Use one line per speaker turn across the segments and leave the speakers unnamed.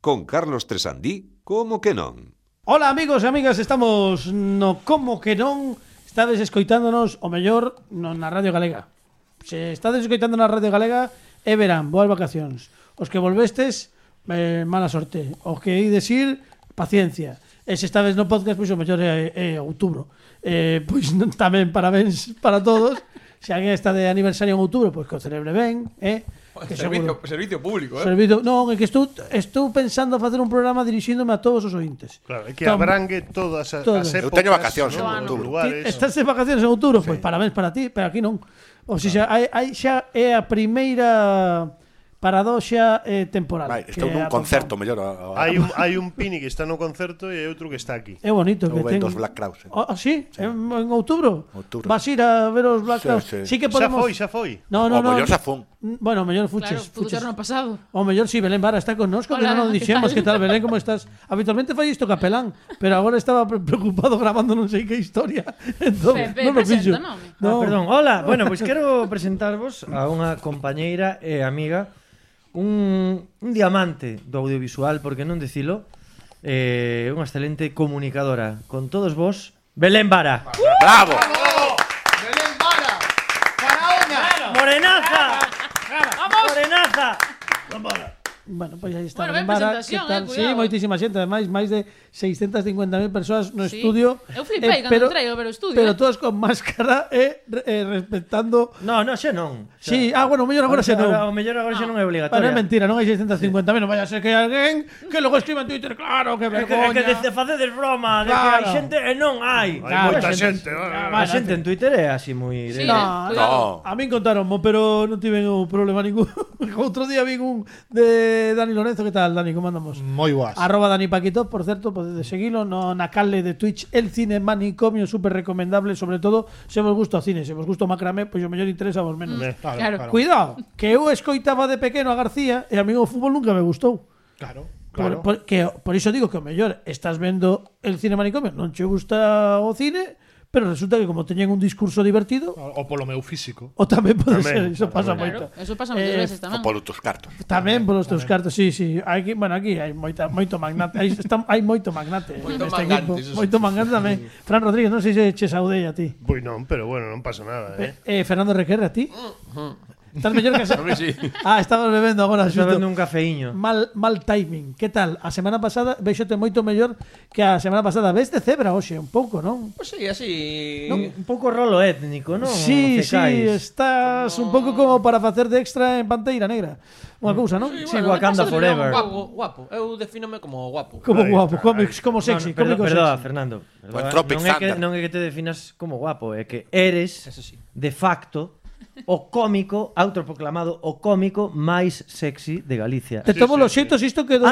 con Carlos Tresandí, como que non.
Ola amigos e amigas, estamos no Como que non Estades escoitándonos o mellor no, na Radio Galega Se estades escoitando na Radio Galega É verán, boas vacacións Os que volvestes, eh, mala sorte Os que ides ir, paciencia E se estades no podcast, pois o mellor é, é outubro eh, Pois non- tamén parabéns para todos Se alguén está de aniversario en outubro, pois que o celebre ben eh? Que
servicio,
seguro-
servicio público, ¿eh?
Servido, non, é que estou, estou pensando a facer un programa dirixíndome a todos os ointes.
Claro, é que
Tom,
abrangue todas as,
todas.
as
Eu
épocas.
teño vacacións en
¿no? Os
outubro.
Ti
Lugares.
estás de vacaciones en outubro, pois parabéns para ti, pero aquí non. Ou seja, hai, hai xa é a primeira paradoxa eh, temporal.
Vai,
que
estou nun
atopamos.
concerto mellor. a- a-
Hai un, hai un pini que está no concerto e hai outro que está aquí.
É bonito que
Eu
ten.
vendo os Black Crowes, eh.
Ah, ah, sí? sí. En, en outubro?
Outubro.
Vas ir a ver os Black
Sí,
Crowes.
sí.
sí que
Xa
podemos...
foi, xa foi.
No,
O
no, no.
mellor xa fun.
Bueno, mellor
Claro,
fuches.
fue
fuches.
turno pasado.
O mellor si Belén Vara está connosco, que
Hola,
non o
¿qué
dixemos,
tal?
que tal Belén, como estás? Habitualmente fai isto capelán, pero agora estaba pre- preocupado grabando non sei que historia. Entón,
Pepe,
non o fixo.
presenta, non?
Ah, perdón, hola. Bueno, pois quero presentarvos a unha compañeira e amiga un, un diamante do audiovisual, porque non dicilo, eh, unha excelente comunicadora. Con todos vos, Belén Vara.
Bravo.
Morenaza. Morenaza.
Bueno, pois aí está
Bueno,
Belén
ben
Vara, que
presentación,
tal?
eh,
sí,
cuidado.
moitísima xente, ademais máis de 650.000 persoas no
Sí.
estudio. Eh,
Eu flipei cando
pero-
entrei ao ver o estudio,
Pero
eh.
todas con máscara e re- e respectando
No, no, xe non.
Sí, ah, bueno, o mellor agora xa non.
O mellor agora xa non
Pero
é
é
obligatoria.
mentira, non hai 650.000, non vaya a ser que hai alguén que logo escriba en Twitter, claro, que
É que, é
vergoña.
que de facedes broma, de que hai
Claro.
xente e non hai.
Hai
Claro,
moita
xente.
xente. ah,
Ah,
A xente en Twitter é así moi...
Sí, eh,
de-
No.
cuidado.
A min contaronmo, pero non tiven o problema ningún. Outro día vin un de Dani Lorenzo, que tal, Dani, como andamos?
Moi boas.
Arroba Dani Paquito, por certo, podedes seguilo no, na calle de Twitch El Cine Manicomio, super recomendable, sobre todo se vos gusta o cine, se vos gusta o macramé, pois o mellor interesa vos menos.
Me-
Claro,
Claro.
claro.
Cuidado, que eu escoitaba de pequeno a García e a mí o fútbol nunca me gustou.
Claro,
Por,
claro.
por, que, por iso digo que o mellor estás vendo el cine manicomio, non che gusta o cine, pero resulta que como teñen un discurso divertido,
O polo meu físico.
O tamén pode ser,
Tamén,
iso pasa moito.
Claro, eso pasa muchas
Eh,
veces
O
tamén.
polo tus cartos.
Tamén polos teus cartos, sí, sí. Aquí, bueno, aquí hai moita, moito magnate, hai, está, hai moito magnate neste
Moito mangante,
equipo.
eso sí.
Moito mangante tamén. Fran Rodríguez, non sei se che saudei a ti.
Pois non, pero bueno, non pasa nada, eh.
Eh, Fernando Requerre a ti? Estás mellor que a...
Mm-hmm. Hombre, sí.
Ah, estabas bebendo agora,
Está
xusto.
vendo un cafeíño.
Mal, mal timing. Que tal? A semana pasada veixote moito mellor que a semana pasada. Ves de cebra hoxe un pouco, non?
Pues sí, así.
Non, un pouco rolo étnico, non?
sí, sí,
Cecais.
estás un pouco como para facer de extra en Panteira Negra. Unha cousa, non?
Mm. Sí, Wakanda
pasa de
forever.
Guapo, guapo. Eu definome como guapo.
Como
Ahí
guapo,
está,
como,
ahí.
como sexy,
No, no,
cómico
perdo- perdoa,
sexy.
Fernando. perdoa.
Pues Tropic
non, é que,
Thunder.
non é que te definas como guapo, é que eres,
Eso sí.
de facto, o cómico, autoproclamado o cómico máis sexy de Galicia.
De todos los xeitos isto quedou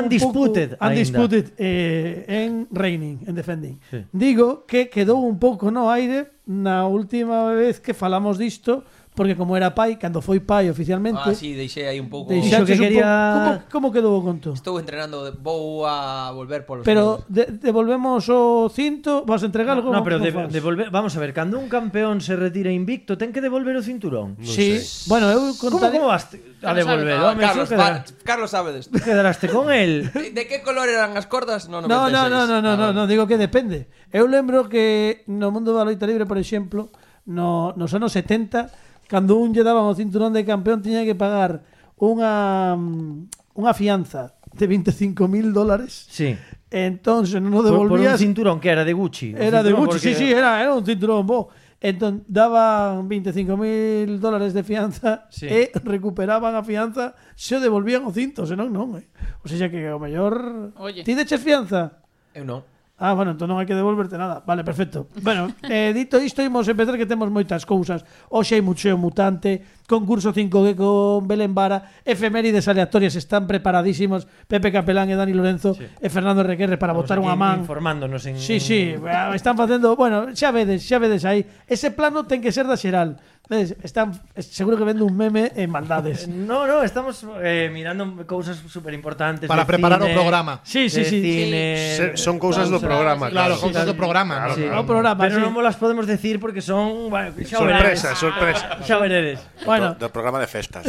un
Undisputed
pouco
aínda.
undisputed eh, en reigning, en defending.
Sí.
Digo que quedou un pouco no aire na última vez que falamos disto, porque como era pai, cando foi pai oficialmente,
Ah, sí, deixei aí un pouco.
Deixa-
deixaches un
Iso que quería-
pouco- como, como quedou o conto?
Estou entrenando, de- vou a volver polos
Pero
nodos.
de, devolvemos o cinto, vas a entregar algo?
No, pero
¿Cómo
de,
fas?
devolver, vamos a ver, cando un campeón se retira invicto, ten que devolver o cinturón.
Sí, bueno, eu
Como,
contade-
como vas a
sabe,
devolver?
Ah,
Home,
Carlos,
si quedar-
va- Carlos sabe desto.
quedaraste con el
De, de que color eran as cordas? No,
No,
96.
no, no, no, no,
Ah,
no, no, digo que depende. Eu lembro que no mundo da loita libre, por exemplo, no, nos anos 70, cando un lle daban o cinturón de campeón, tiña que pagar unha mm, unha fianza de 25.000 dólares.
Sí.
Entón, se non o
Por, por un
devolvías,
cinturón que era de Gucci. Un
era de
cinturón
Gucci, sí, sí,
porque-
era, era un cinturón, bo. Entón, daban 25.000 dólares de fianza
Sí.
e recuperaban a fianza se o devolvían o cinto, senón non, eh. O sea que o mellor...
Oye.
Ti deches fianza?
Eu non.
Ah, bueno, entón non hai que devolverte nada. Vale, perfecto. Bueno, eh, dito isto, imos empezar que temos moitas cousas. Hoxe hai Museo Mutante, concurso 5G con Belén Vara, efemérides aleatorias están preparadísimos Pepe Capelán e Dani Lorenzo e Fernando Requerre para
Estamos
botar unha
aquí
man. eh, Ah,
Informándonos en...
Sí, sí, están facendo, bueno, xa vedes, xa vedes aí. Ese plano ten que ser da xeral. Ves, están, seguro que vende un meme en maldades.
No, no, estamos eh, mirando cousas super importantes
Para preparar o programa.
Sí, sí, sí. Eh,
Se- son cousas do programa,
Claro,
claro.
con todo o programa.
Claro,
non?
claro.
No programa,
Ah, Pero
sí.
non vos las podemos decir porque son, bueno, xa veredes.
Sorpresa, sorpresa.
Xa veredes.
Bueno,
do programa de festas.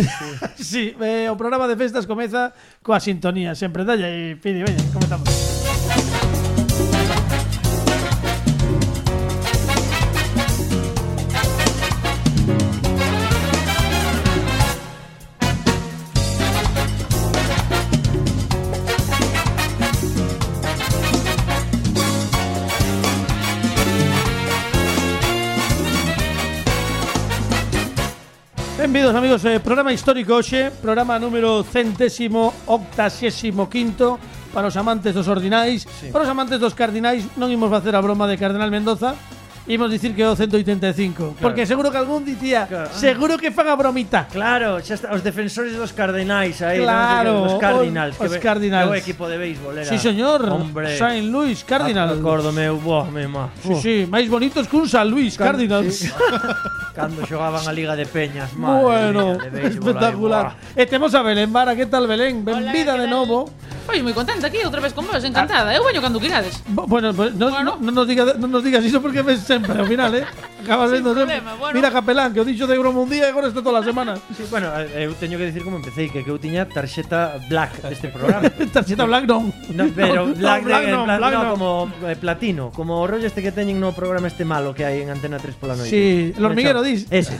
sí, eh, o programa de festas comeza coa sintonía, sempre dalla e pidi, veña, comezamos. Benvidos amigos, eh, programa histórico hoxe, programa número centésimo, octasésimo quinto para os amantes dos ordinais, para os amantes dos cardinais, non imos facer a broma de Cardenal Mendoza, imos dicir que é o 185, porque seguro que algún dicía,
Claro. Ah.
seguro que fan a bromita.
Claro, xa está, os defensores dos Cardinais aí,
Claro,
non? os Cardinals,
os
que ve-
Cardinals.
que o equipo de béisbol era.
Sí, señor.
Hombre.
Saint Louis Cardinals.
Acórdome, boh, me ma.
Sí, sí, máis bonitos que un San Luis Cardinals.
Cando xogaban a Liga de Peñas, madre
bueno,
mía, de béisbol,
espectacular.
aí,
E temos a Belén Vara, que tal Belén? Benvida de
¿qué tal?
novo.
Oi, moi contenta aquí outra vez con vos, encantada. Eu veño cando quirades.
Bu- Bueno, pues no,
Bueno.
no- no nos digas, no nos digas eso porque ves siempre al final, ¿eh? Acabas
Sin
viendo siempre.
problema, bueno.
Mira, Capelán, que he dicho de Euromundía y ahora está toda la semana.
boh. Sí, bueno, eh, eu teño que dicir como empecé que eu tiña tarxeta black deste programa.
Tarjeta Black no.
No,
No,
pero Black,
Black
en
no,
plan,
Black
no,
no.
como eh, platino, como o rollo este que teñen no programa este malo que hai en Antena 3 pola noite.
Sí, el hormiguero,
Bueno,
dis.
Ese,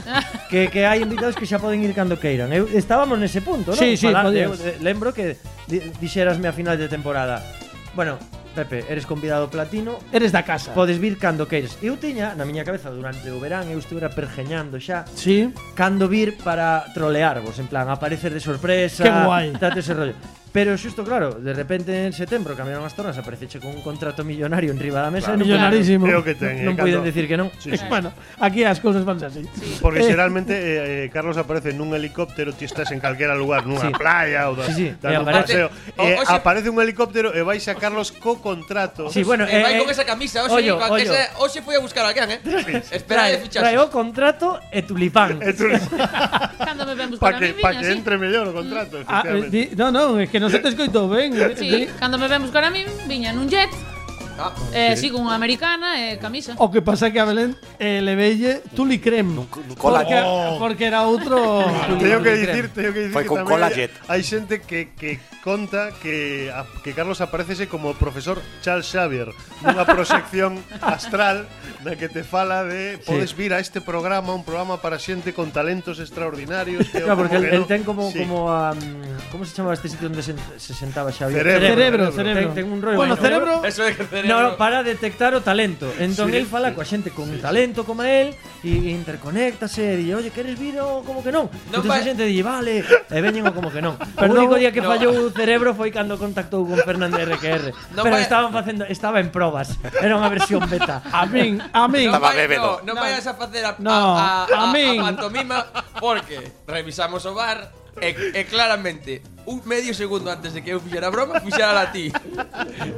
que, que hai invitados que xa poden ir cando queiran. Eu, estábamos nese punto, non?
Sí, sí,
Falan-
podías.
eu, eh, lembro que di, dixerasme a final de temporada. Bueno, Pepe, eres convidado platino,
Eres da casa.
podes vir cando queiras. Eu tiña na miña cabeza durante o verán, eu estivera pergeñando xa
Sí.
cando vir para trolearvos, en plan, aparecer de sorpresa,
Qué guai.
date ese rollo. Pero xusto claro, de repente en setembro cambiaron as tornas, apareceche con un contrato millonario en riba da mesa, e non,
Millonarísimo.
É o que ten. eh,
non
cando-
puiden decir que non.
Sí, sí.
Bueno, aquí las cosas van así.
Porque xeralmente eh, eh, Carlos aparece nun helicóptero, ti estás en calquera lugar, nunha
Sí.
playa ou da,
Sí, sí,
dando un
e aparece-
paseo.
O- o
eh,
xe-
aparece un helicóptero e vais a Carlos co contrato.
Sí, bueno,
Eh, vai
eh,
con esa camisa, hoxe,
ollo,
con
ollo.
esa- hoxe foi a buscar a alguén, eh. Espera de
Trae,
fichaxe.
trae o contrato e tulipán.
E tú-
Cando me ven buscar
Pa
a
que,
mí,
pa que
viña,
entre mellor o contrato,
Ah, eh,
efectivamente.
di- no, no, es que no se te escoito ben. Eh,
sí.
di-
Sí, cando me ven buscar a mí, viña nun jet,
Ah,
eh, sí, con unha americana e eh, camisa.
O que pasa que a Belén eh, le veille Tuli Creme.
cola.
Porque,
Oh.
porque era otro.
Tengo que decir, tengo que decir
Fue
que
con
también
cola
hay,
jet.
hay gente que, que conta que, a- que Carlos aparece como o profesor Charles Xavier nunha proxección astral na que te fala de podes vir a este programa, un programa para xente con talentos extraordinarios que,
Claro, porque
como
el,
que
el
no-
ten como
Sí.
como a mm, ¿cómo se chamaba este sitio onde se, se sentaba Xavier?
Cerebro,
Cerebro,
cerebro.
cerebro.
Ten- ten un rollo
bueno,
bueno.
cerebro.
Eso é que cerebro.
No, no, para detectar o talento. Entón sí, el fala sí, coa xente con sí, talento como el e interconéctase e di, "Oye, queres vir o como que non?"
Non
Non Entón a
vai-
xente di, "Vale", e veñen o como que non. o único día que
no.
fallou o cerebro foi cando contactou con Fernando RQR.
Non
pero
vai-
estaban facendo, estaba en probas. Era unha versión beta.
A min, a min.
Estaba
vai-
bébedo.
No, non vayas a facer a,
No,
a,
a
a, a,
min.
a pantomima porque revisamos o bar e, e claramente un medio segundo antes de que eu fixera a broma, fixera a ti.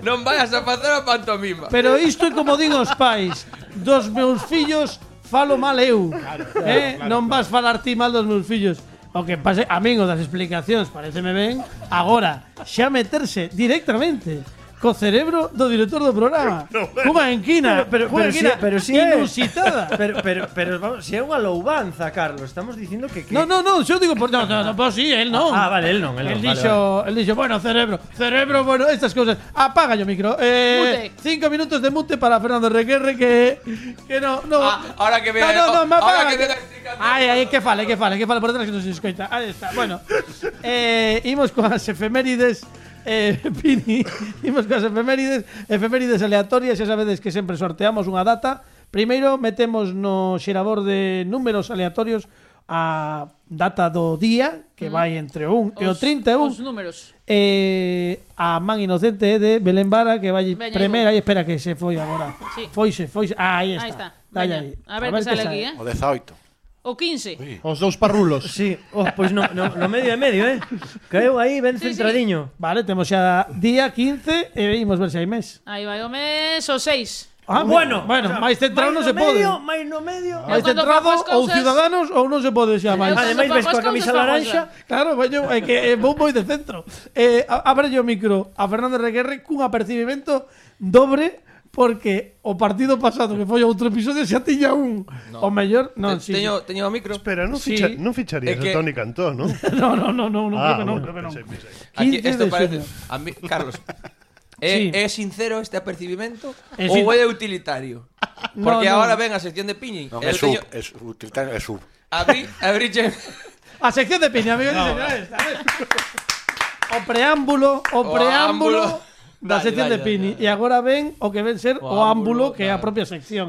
non vayas a facer a pantomima.
Pero isto é como din os pais Dos meus fillos falo mal eu eh? Non vas falar ti mal dos meus fillos O que pase, a min o das explicacións Pareceme ben Agora, xa meterse directamente Co cerebro do director do programa Unha enquina
Pero- pero-
unha enquina
pero si- pero si é.
Inusitada
Pero pero pero vamos, se é unha loubanza, Carlos, estamos dicindo que, que
No, no, no, yo digo por no, no, no, pues sí, él no.
Ah, vale, él non, él
El él
non, vale,
dixo, él dixo, bueno, cerebro, cerebro, bueno, estas cosas. Apaga yo micro. Eh,
Mute.
cinco minutos de mute para Fernando Requerre que que no, no.
Ah, ahora que venga-
No, no, no, me
ahora
apaga.
que
que-
venga explicando.
Ay, ay, que fale, que fale, que fale por detrás que nos escoita. Ahí está. Bueno, eh, imos coas efemérides. Eh, Pini, imos coas efemérides, efemérides aleatorias, xa sabedes que sempre sorteamos unha data. Primeiro metemos no xerador de números aleatorios a data do día, que vai entre o 1 e o
Mm. Os-
31.
Os números.
Eh, a man inocente eh, de Belén Vara que vai
Veña,
primeira e espera que se foi agora.
Sí.
Foise, foise. Ah, aí está.
Ahí está.
Dalle
Veña,
aí.
a ver que sale aquí, eh.
O 18.
O 15.
Os dous parrulos.
Sí, oh, pois no, no, no medio e medio, eh. Caeu aí ben
Sí, sí.
centradiño.
Vale, temos xa día 15 e vimos ver se hai mes.
Aí vai o mes, o 6.
Ah,
bueno,
bueno,
o sea,
máis centrado non
máis
se
no
pode.
medio, máis no medio.
Eu
Máis
cando
centrado
fago as
ou
cousas-
Ciudadanos ou non se pode xa máis.
Ademais-
Ademais,
Cando
ves
fago as
coa camisa
cousas, fago
laranxa.
Claro, veño, é que eh, vou moi de centro. Eh, a- abrelle o micro a Fernando Reguerre cun apercibimento dobre porque o partido pasado que foi outro episodio xa tiña un. O mellor, non, si.
teño, teño o Eh, micro.
Espera, non,
Sí.
ficha, non
É
ficharías
que-
a Tony Cantón, non?
No, no, no, no, no, creo
ah,
que non,
bueno,
creo que non.
pensei, pensei.
Aquí,
15
esto
de
parece.
xuño.
A mí, Carlos, ¿é,
Sí.
é sincero este apercibimiento?
É sin-
¿O é utilitario?
No,
Porque
no.
ahora ven a sección de Piñi.
Non,
eu
é sub,
teño-
é sub, utilitario é sub.
Abrí, abrí, che-
A sección de piña, amigos e señores. a ver. O preámbulo, o
O
preámbulo
ámbulo.
da
Dale,
sección de
dale,
Pini.
dale,
E agora ven o que ven ser
O
o, ámbulo,
ámbulo,
que é a
claro. Mm.
propia sección.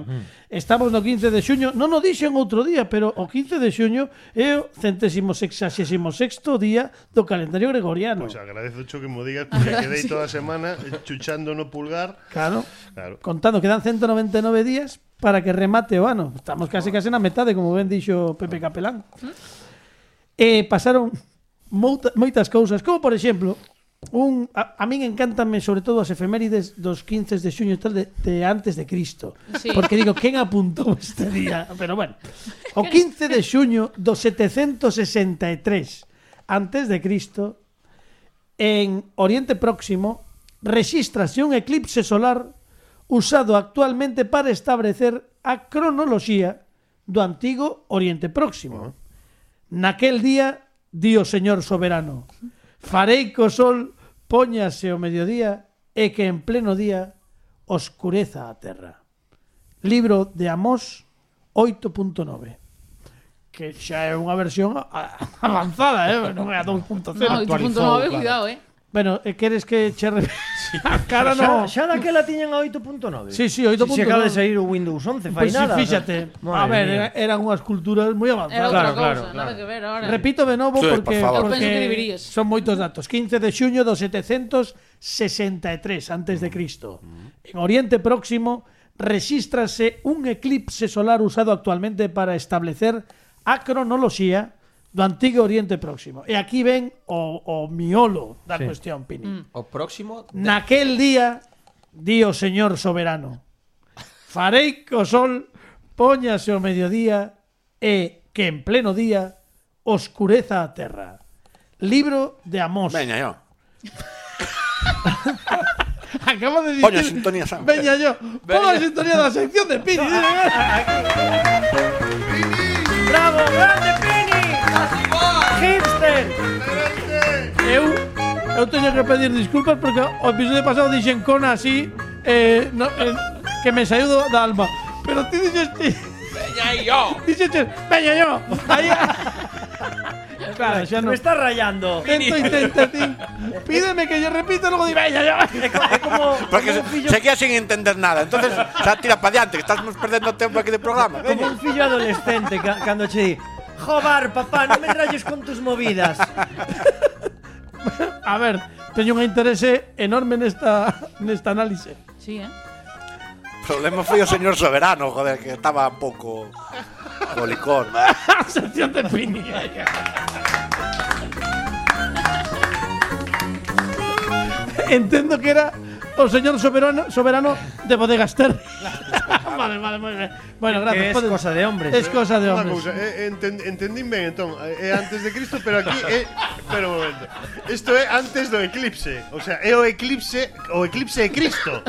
Estamos no 15 de xuño, non o dixen outro día, pero o 15 de xuño é o centésimo sexagésimo sexto día do calendario gregoriano.
Pois agradezo cho que mo digas porque quedei toda a semana eh, chuchando no pulgar.
Claro.
Claro.
Contando, quedan 199 días para que remate o ano. Estamos case case na metade, como ben dixo Pepe Capelán. E pasaron mouta- moitas cousas, como por exemplo, un a, a min encántame sobre todo as efemérides dos 15 de xuño e tal de, de antes de Cristo,
Sí.
porque digo, quen apuntou este día? Pero bueno, o 15 de xuño do 763 antes de Cristo en Oriente Próximo rexístrase un eclipse solar usado actualmente para establecer a cronoloxía do antigo Oriente Próximo. Naquel día, dio señor soberano, farei co sol póñase o mediodía e que en pleno día oscureza a terra. Libro de Amós 8.9 que xa é unha versión a- avanzada, eh? non é a 2.0.
No, y tu punto
actualizou,
nove,
claro.
cuidado, eh.
Bueno, eh, queres que che re... a cara
Xa,
no.
xa daquela tiñan a 8.9.
Sí, sí,
Si
8.9.
se acaba de sair o Windows 11, fai
Pois sí,
nada.
fíxate.
Madre
A ver,
mía.
era- eran unhas culturas moi
Era
avanzadas.
outra
Claro,
cousa,
claro,
nada
claro.
que ver ahora.
Repito de novo
Sí, por
porque,
favor.
Eu penso que
porque
deberías.
son moitos datos. 15 de xuño do 763 antes de Cristo. En
Mm-hmm.
Oriente Próximo rexístrase un eclipse solar usado actualmente para establecer a cronoloxía do antigo Oriente Próximo. E aquí ven eh, o, o miolo da cuestión, Pini.
O próximo.
Naquel día, dio señor soberano, farei co sol póñase o mediodía e que en pleno día oscureza a terra. Libro de Amós.
Veña, yo.
Acabo de
Poña sintonía, Sam.
Veña yo. Pon a
Veña.
sintonía da sección de Pini.
Bravo, grande Pini, hipster.
eu, eu teño que pedir disculpas porque o episodio pasado dixen con así eh, no, eh, que me saiu do- da alma. Pero ti dixeste...
¡Ya yo!
Dixeches, veña yo. Aí. claro, xa non.
Me está rayando.
Tento e tento, tin. Pídeme que yo repita, logo di, veña yo.
É como
Porque
como un
se,
fillo,
se queda sin entender nada. Entonces, xa tira para diante, que estamos perdendo tempo aquí de programa.
como
Veña.
un fillo adolescente ca- cando che di, "Jobar, papá, non me rayes con tus movidas."
A ver, teño un interese enorme nesta nesta análise.
Sí, eh.
O problema foi o señor soberano, joder, que estaba un pouco o licor.
A sección de Pini. Entendo que era o señor soberano, soberano de Bodegas Terry. vale, vale, moi ben. Bueno, gracias.
Que es
Podes-
cosa de hombres.
Es cosa de
Unha
hombres.
cousa, eh, enten, entendín ben entón, é eh, antes de Cristo, pero aquí é, pero un momento. Isto é antes do eclipse, o sea, é o eclipse, o eclipse de Cristo.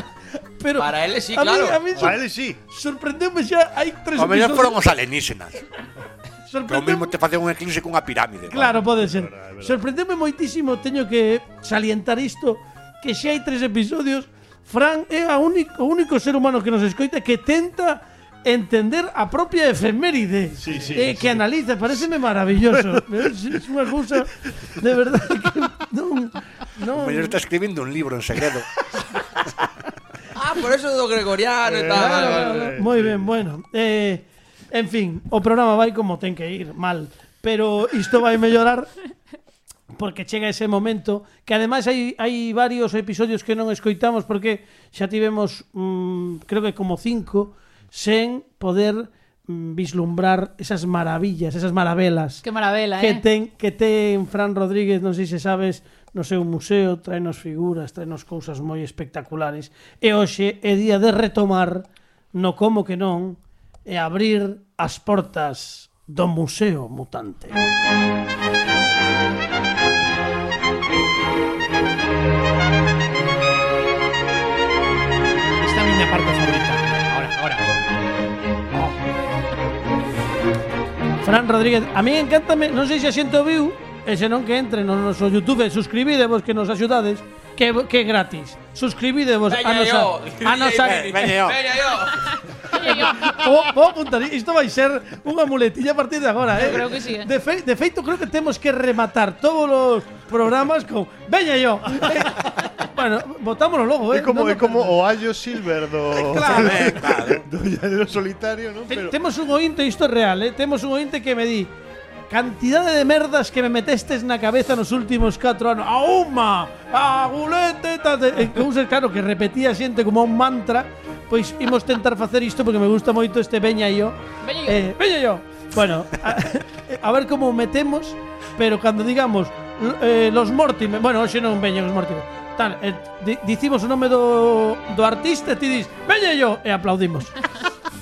Pero
Para él sí,
a mí-
claro.
a mí
Para ele sí.
Sorprendeume xa hai tres
O mellor
episodios.
foron os alienígenas. Que o
Sorprendeume-
mismo te facen un eclipse cunha pirámide.
Claro, pode ser.
verdad, é verdad.
Sorprendeume moitísimo, teño que salientar isto, que xa hai tres episodios, Fran é a único, o único ser humano que nos escoita que tenta entender a propia efeméride
Sí, sí,
eh, que analiza, pareceme maravilloso é unha cousa de verdade que non,
O
non
mellor está escribindo un libro en segredo.
Ah, por eso do Gregoriano
Eh,
y tal. Vale, vale, vale.
Muy bien, bueno. Eh, en fin, o programa vai como ten que ir, mal. Pero isto vai mellorar porque chega ese momento que ademais hai, hai varios episodios que non escoitamos porque xa tivemos mm, creo que como cinco sen poder mm, vislumbrar esas maravillas, esas maravelas
Que maravela,
que
eh.
ten que ten Fran Rodríguez, non sei se sabes, no seu museo traenos figuras, traenos cousas moi espectaculares. E hoxe é día de retomar no como que non e abrir as portas do Museo Mutante.
Esta é a miña parte favorita. Ahora, ahora.
Fran Rodríguez, a mí encántame, non sei se a xente o viu, e se non que entre no noso YouTube, suscribidevos que nos axudades, que, que é gratis. Suscribidevos a
Veña
nosa...
yo.
A nosa
Ven, veña yo.
Veña yo.
Vou, vou apuntar, Oh, isto vai ser unha muletilla a partir de agora, eh?
Eu creo que sí, eh.
De, fe, de feito, creo que temos que rematar todos os programas con Veña yo. Eh, bueno, votámoslo logo, eh?
É como,
Non
é
nos
como
perdamos.
o Ayo Silver do,
Claro.
Eh, claro.
do Llanero Solitario, ¿no?
Te-
Pero
Temos un ointe, isto é real, eh? Temos un ointe que me di cantidade de merdas que me metestes na cabeza nos últimos 4 anos. A uma, a gulete, tate. E cousas, claro, que repetía xente como un mantra. Pois imos tentar facer isto porque me gusta moito este veña yo.
Veña yo.
Eh, veña yo. Bueno, a, a ver como o metemos, pero cando digamos l- eh, los Mortimer, bueno, hoxe non veñen os Mortimer. Tal, eh, di- dicimos o nome do, do artista, e ti dis, veña yo, e aplaudimos.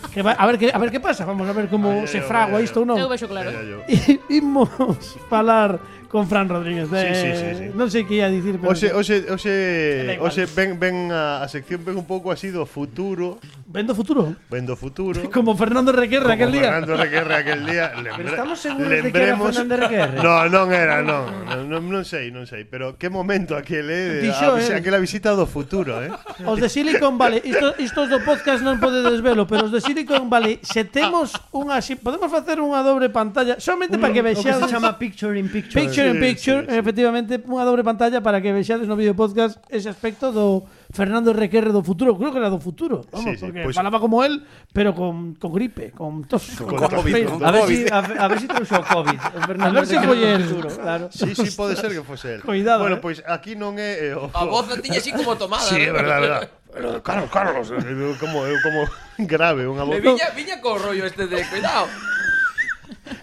Que va- a ver qué a ver qué pasa, vamos a ver cómo
Ay, ay,
se
ay,
fragua
ay,
esto o no.
Eu vexo claro.
Era yo.
Eh, Imos falar con Fran Rodríguez. Eh,
Sí, sí, sí, sí.
No sé qué iba a decir, pero
Oxe, oxe,
Da
oxe,
igual.
oxe ven, ven a, a sección ven un pouco así do futuro,
vendo futuro.
ven do futuro.
Como Fernando Requerra aquel día.
Fernando Requerre aquel día. Lembre,
Pero estamos seguros de que era Fernando Requerre?
No, non era, non. Non, non, non sei, non sei. Pero que momento aquel, eh?
Dixo
a, visi-
él.
aquela visita do futuro, eh?
Os de Silicon Valley, isto, isto os do podcast non podedes velo, pero os de Silicon Valley, se temos unha, si podemos facer unha dobre pantalla, somente para que
O que
vexades.
se chama Picture in Picture.
Picture in
Sí,
Picture,
sí, sí.
efectivamente, unha dobre pantalla para que vexades no vídeo podcast ese aspecto do Fernando Requerre do futuro, creo que era do futuro, vamos,
Sí, sí,
porque
pois-
falaba como él, pero con, con gripe, con tos,
Con
Con
COVID,
COVID,
con
A ver
COVID.
si, a, a ver si trouxo o COVID. O Fernando
A ver si
Requerre
foi
do
el.
futuro, Claro.
Sí, sí, pode ser que fose él.
Cuidado,
Bueno,
eh.
pois aquí non é... eh, o-
A voz la tiña así como tomada.
Sí, é
¿no?
verdade, verdade. Pero, Carlos, Carlos, eh, eu como, eu como grave unha voz.
Le viña, viña con rollo este de cuidado.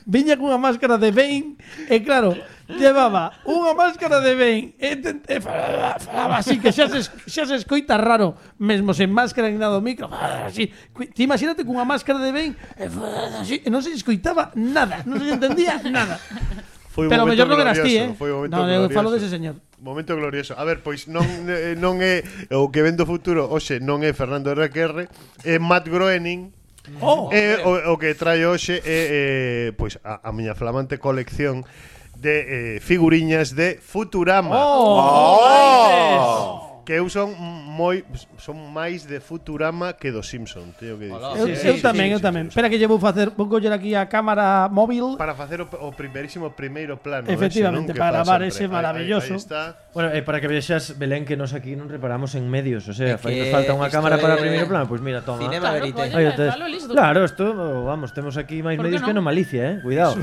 viña cunha máscara de Bane e claro, llevaba unha máscara de Bane e, te- e falaba, falaba así que xa se, es- xa se escoita raro mesmo sen máscara en nada o micro falaba así. Cu- Ti imagínate cunha máscara de Bane e falaba así, e non se escoitaba nada non se entendía nada
Foi un
pero
momento
mellor non eras ti,
glorioso,
eh
Foi un momento
non, eu
glorioso.
falo dese señor
Momento glorioso. A ver, pois non eh, non é o que vendo futuro, hoxe non é Fernando RQR, é Matt Groening.
oh,
Eh,
É Eh, o, o que trae hoxe é eh, pois a, a miña flamante colección de eh, figuriñas de Futurama.
oh,
Que eu son moi son máis de Futurama que do Simpson, teño que
Eu, eu
dicir.
tamén, eu tamén. Espera que lle vou facer, vou coller aquí a cámara móvil.
Para facer o, o primerísimo primeiro plano
Efectivamente,
ese, non? Que
para
faz
gravar
sempre.
ese maravilloso.
Ahí, ahí, ahí está.
Bueno, eh, para que vexas, Belén, que nos aquí non reparamos en medios. O
É
sea, fai-
que
nos falta unha
isto
cámara para
é-
o primeiro plano. Pois pues mira, toma.
Cinema
Claro,
verité.
colle,
Aí o tes.
falo listo.
Claro, isto, vamos, temos aquí máis
Por que
medios que
non?
non malicia, eh? Cuidado.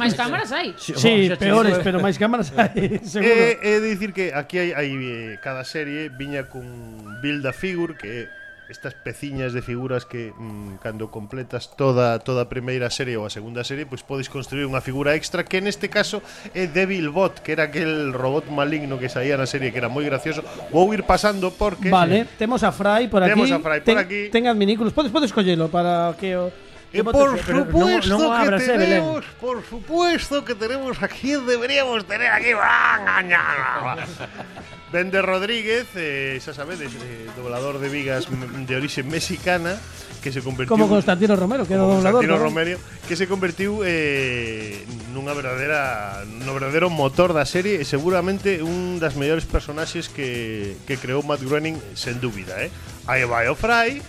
Máis cámaras hai.
Sí,
Xa che
peores,
digo, eh.
pero máis cámaras hai, seguro.
É, é Eh, de dicir que aquí hai, hai eh, cada serie viña cun build a figure que é estas peciñas de figuras que mm, cando completas toda toda a primeira serie ou a segunda serie, pois podes construir unha figura extra que neste caso é Devil Bot, que era aquel robot maligno que saía na serie que era moi gracioso. Vou ir pasando porque
Vale, temos a Fry por aquí.
Temos eh, a Fray por
Ten-
aquí.
Ten adminículos. Podes, podes collelo para que o...
E por
pero non-
supuesto
non
que
abras, eh, Belén.
tenemos, por supuesto que tenemos aquí, deberíamos tener aquí. Vende Rodríguez, eh, xa sabedes, eh, doblador de vigas m- de orixe mexicana, que se convertiu
Como Constantino Romero, que era
como
doblador.
Constantino
¿no?
Romero, que se convertiu eh, nunha verdadeira no verdadeiro motor da serie e seguramente un das mellores personaxes que, que creou Matt Groening, sen dúbida, eh. Aí vai o Fry,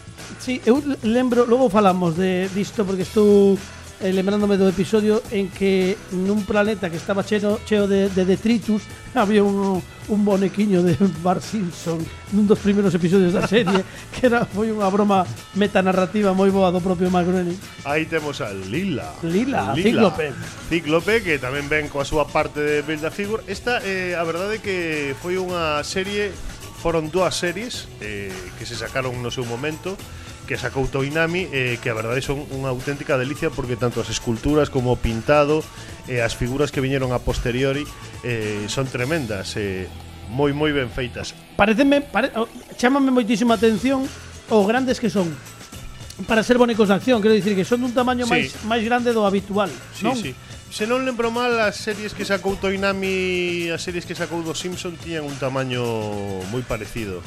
Sí, eu lembro, logo falamos de disto porque estou eh, lembrándome do episodio en que nun planeta que estaba cheo, cheo de, de detritus había un, un bonequiño de Bart Simpson nun dos primeiros episodios da serie que era foi unha broma metanarrativa moi boa do propio Mark Groening.
Aí temos a Lila.
Lila, Cíclope.
Cíclope, que tamén ven coa súa parte de Build a Figure. Esta, eh, a verdade é que foi unha serie, foron dúas series eh, que se sacaron no seu momento, que sacou Toinami, eh, que a verdade son unha auténtica delicia porque tanto as esculturas como o pintado, eh, as figuras que viñeron a posteriori, eh, son tremendas, eh, moi moi ben feitas.
Pareceme, pare, oh, chámame moitísima atención o grandes que son. para ser bonecos de acción, quero dicir que son dun
E
tamaño
Sí.
máis máis grande do habitual,
Sí,
non?
sí. Se non lembro mal, as series que sacou Toinami, as series que sacou do Simpson tiñan un tamaño moi parecido.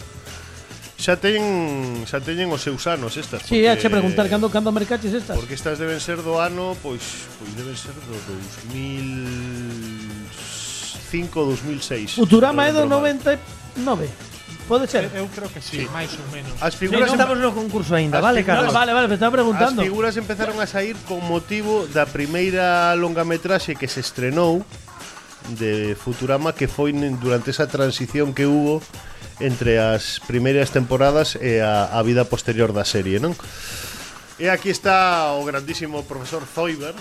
Xa teñen, xa teñen os seus anos estas.
Sí, hache preguntar cando cando mercaches estas.
Porque estas deben ser do ano, pois, pois deben ser do 2005 2006.
Futurama é do
Non lembro mal.
99. Pode
Eh,
ser.
Eu creo que sí, máis ou menos.
As
Non
figuras
estamos no concurso
As
aínda, vale,
figuras-
Carlos?
No, vale, vale, me estaba
As
preguntando.
figuras empezaron a sair con motivo da primeira longametraxe que se estrenou de Futurama que foi nen- durante esa transición que hubo entre as primeiras temporadas e a, a vida posterior da serie, non? E aquí está o grandísimo profesor Zoiber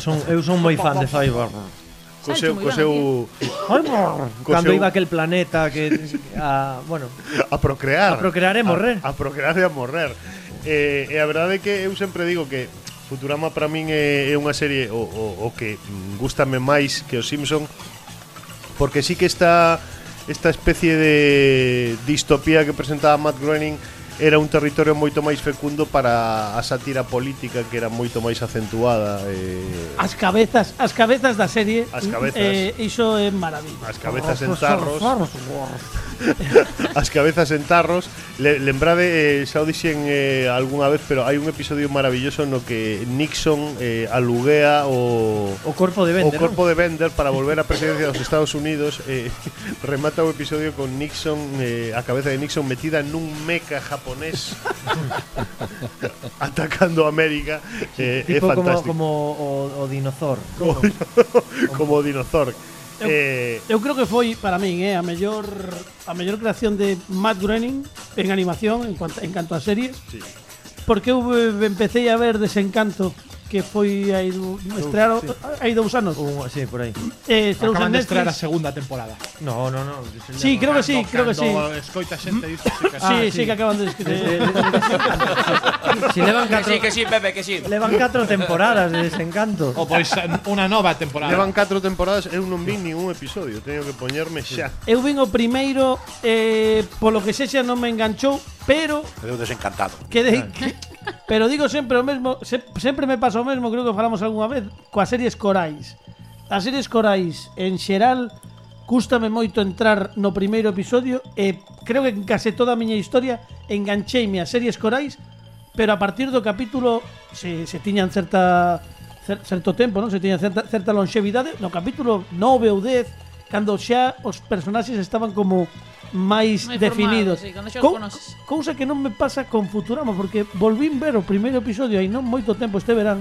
Son, eu son moi fan de Cyborg.
co
Salto
seu,
moi
co
ben
seu
Cando
seu-
iba aquel planeta que a, bueno,
a procrear.
A procrear e morrer.
A, a procrear e a morrer. Eh, e a verdade é que eu sempre digo que Futurama para min é, é unha serie o, o, o que mm, gústame máis que o Simpson porque sí que está esta especie de distopía que presentaba Matt Groening era un territorio moito máis fecundo para a sátira política que era moito máis acentuada eh,
As cabezas, as cabezas da serie.
As cabezas.
Eh, iso é maravilla.
as cabezas en tarros as cabezas en tarros Le, lembrade, eh, xa o dixen eh, algunha vez Pero hai un episodio maravilloso no que Nixon eh, aluguea o,
o corpo de
o
Bender.
corpo de Bender para volver á presidencia dos Estados Unidos eh, Remata o episodio con Nixon, eh, a cabeza de Nixon metida nun meca japonés Atacando América eh, É
¿no? tipo como,
fantástico
como o, o dinosaur.
Como dinosaur eh,
Eu creo que foi para min, eh, a mellor a mellor creación de Matt Groening en animación en cuanto en canto a series.
Sí.
Porque eu eh, empecé a ver Desencanto que foi aí du- estrearon hai dous anos.
Un- sí, por aí.
Eh, estreouse en
Acaban de estrear a
Netflix.
segunda temporada.
No, no, no.
Sí, creo que sí,
Cando-
creo que sí.
cando Escoita xente dice sí que sí.
sí, sí,
sí.
que acaban de escribir.
Si levan
Que
catro,
sí, que sí, Pepe, que sí.
levan catro temporadas de desencanto.
O pois unha nova temporada.
Levan 4 temporadas, eu non vi ningún episodio Teño que poñerme xa
Eu vin o primeiro eh, polo que sexa non me enganchou, pero
Eu desencantado.
quedei que, pero digo sempre o mesmo, se- sempre me pasa o mesmo, creo que falamos algunha vez coas series corais. As series corais en xeral cústame moito entrar no primeiro episodio e creo que en case toda a miña historia engancheime a series corais, pero a partir do capítulo se, se tiñan certa cer, certo tempo, non? Se tiñan certa, certa longevidade no capítulo 9 ou 10 cando xa os personaxes estaban como máis
Moi
definidos.
formados, sí, cando xa os
Cou-
conoces.
Cousa que non me pasa con Futurama Porque volvín ver o primeiro episodio Hai non moito tempo este verán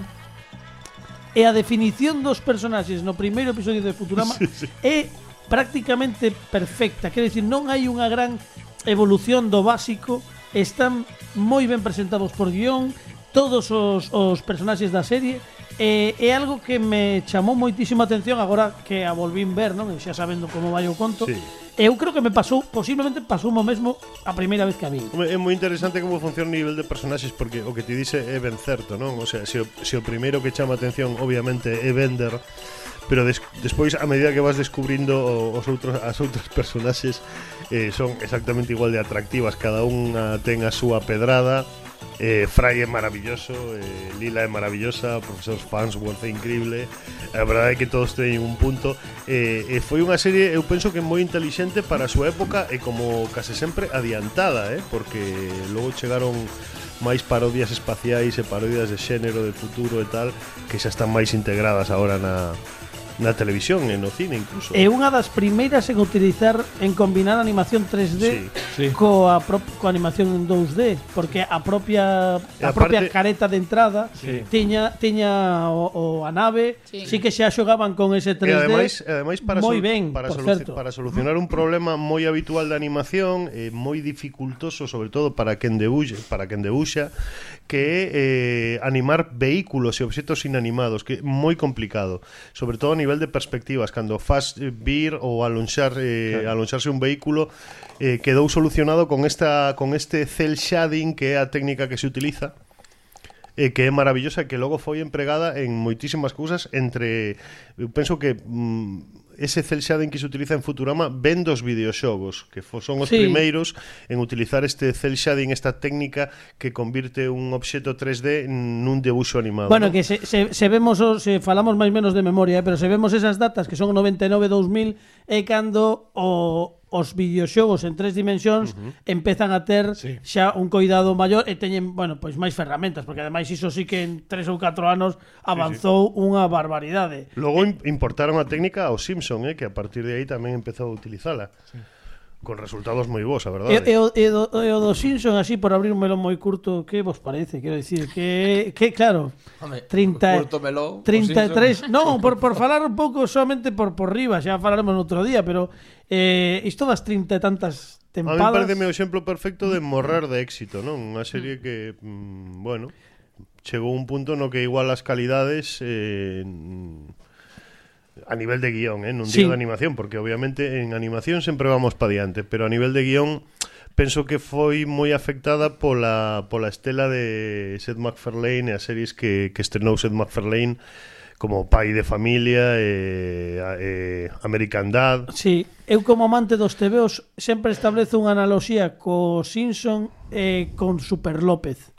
E a definición dos personaxes No primeiro episodio de Futurama É prácticamente perfecta Quer dicir, non hai unha gran evolución do básico Están moi ben presentados por guión Todos os, os personaxes da serie E é algo que me chamou moitísima atención agora que a volvín ver, non? E xa sabendo como vai o conto.
Sí.
Eu creo que me pasou, posiblemente pasou o mesmo a primeira vez que a vi.
Home, É moi interesante como funciona o nivel de personaxes porque o que te dice é ben certo, non? O sea, se o, se o primeiro que chama atención obviamente é Bender, pero des, despois a medida que vas descubrindo o- os outros as outras personaxes eh, son exactamente igual de atractivas, cada unha ten a súa pedrada. Eh, Fry é maravilloso, eh, Lila é maravillosa, Profesor Fansworth é increíble A verdade é que todos teñen un punto eh, eh, Foi unha serie, eu penso que moi intelixente para a súa época E como case sempre adiantada, eh, porque logo chegaron máis parodias espaciais e parodias de xénero, de futuro e tal Que xa están máis integradas agora na, na televisión e no cine incluso
É unha das primeiras en utilizar en combinar animación 3D
Sí.
coa pro- coa animación en 2D, porque a propia
E
a propia
aparte-
careta de entrada tiña tiña o, o a nave, sí.
Sí.
que xa xogaban con ese 3D.
E ademais, e ademais para,
moi
solu-
ben,
para,
por
solu-
certo.
para solucionar un problema moi habitual de animación, eh, moi dificultoso sobre todo para quen debuxa, para quen debuxa, que é eh, animar vehículos e obxectos inanimados, que é moi complicado, sobre todo a nivel de perspectivas, cando faz eh, vir ou alonxar eh, alonxarse un vehículo eh, quedou solucionado con esta con este cel shading que é a técnica que se utiliza eh, que é maravillosa que logo foi empregada en moitísimas cousas entre eu penso que mm, ese cel shading que se utiliza en Futurama ven dos videoxogos que fo- son os
Sí.
primeiros en utilizar este cel shading esta técnica que convirte un obxeto 3D nun debuxo animado
Bueno,
non?
que se, se, se vemos, o- se falamos máis menos de memoria, eh, pero se vemos esas datas que son 99-2000 é cando o, os videoxogos en tres dimensións uh -huh. empezan a ter sí. xa un coidado maior e teñen, bueno, pois máis ferramentas, porque ademais iso sí que en tres ou catro anos avanzou sí, sí. unha barbaridade.
Logo im- importaron a técnica ao Simpson, eh, que a partir de aí tamén empezou a utilizala. Con resultados moi
E,
bons, a
e,
verdade.
o- e, do, e o do Simpson así por abrir un melón moi curto Que vos parece? Quero dicir que, que claro
Home,
30,
curto melón, o
33 Non, por, por falar un pouco Solamente por, por riba Xa falaremos outro día Pero eh, isto das 30 e tantas
A mí
tempadas
pareceme o exemplo perfecto de morrer de éxito, non? Unha serie que, mm, bueno, chegou un punto no que igual as calidades eh, mm, a nivel de guión, eh, non
Sí.
digo de animación, porque obviamente en animación sempre vamos pa diante, pero a nivel de guión penso que foi moi afectada pola, pola estela de Seth MacFarlane e as series que, que estrenou Seth MacFarlane como Pai de Familia e, a- e American Dad
Sí, eu como amante dos TVOs sempre establezo unha analoxía co Simpson e con Super López.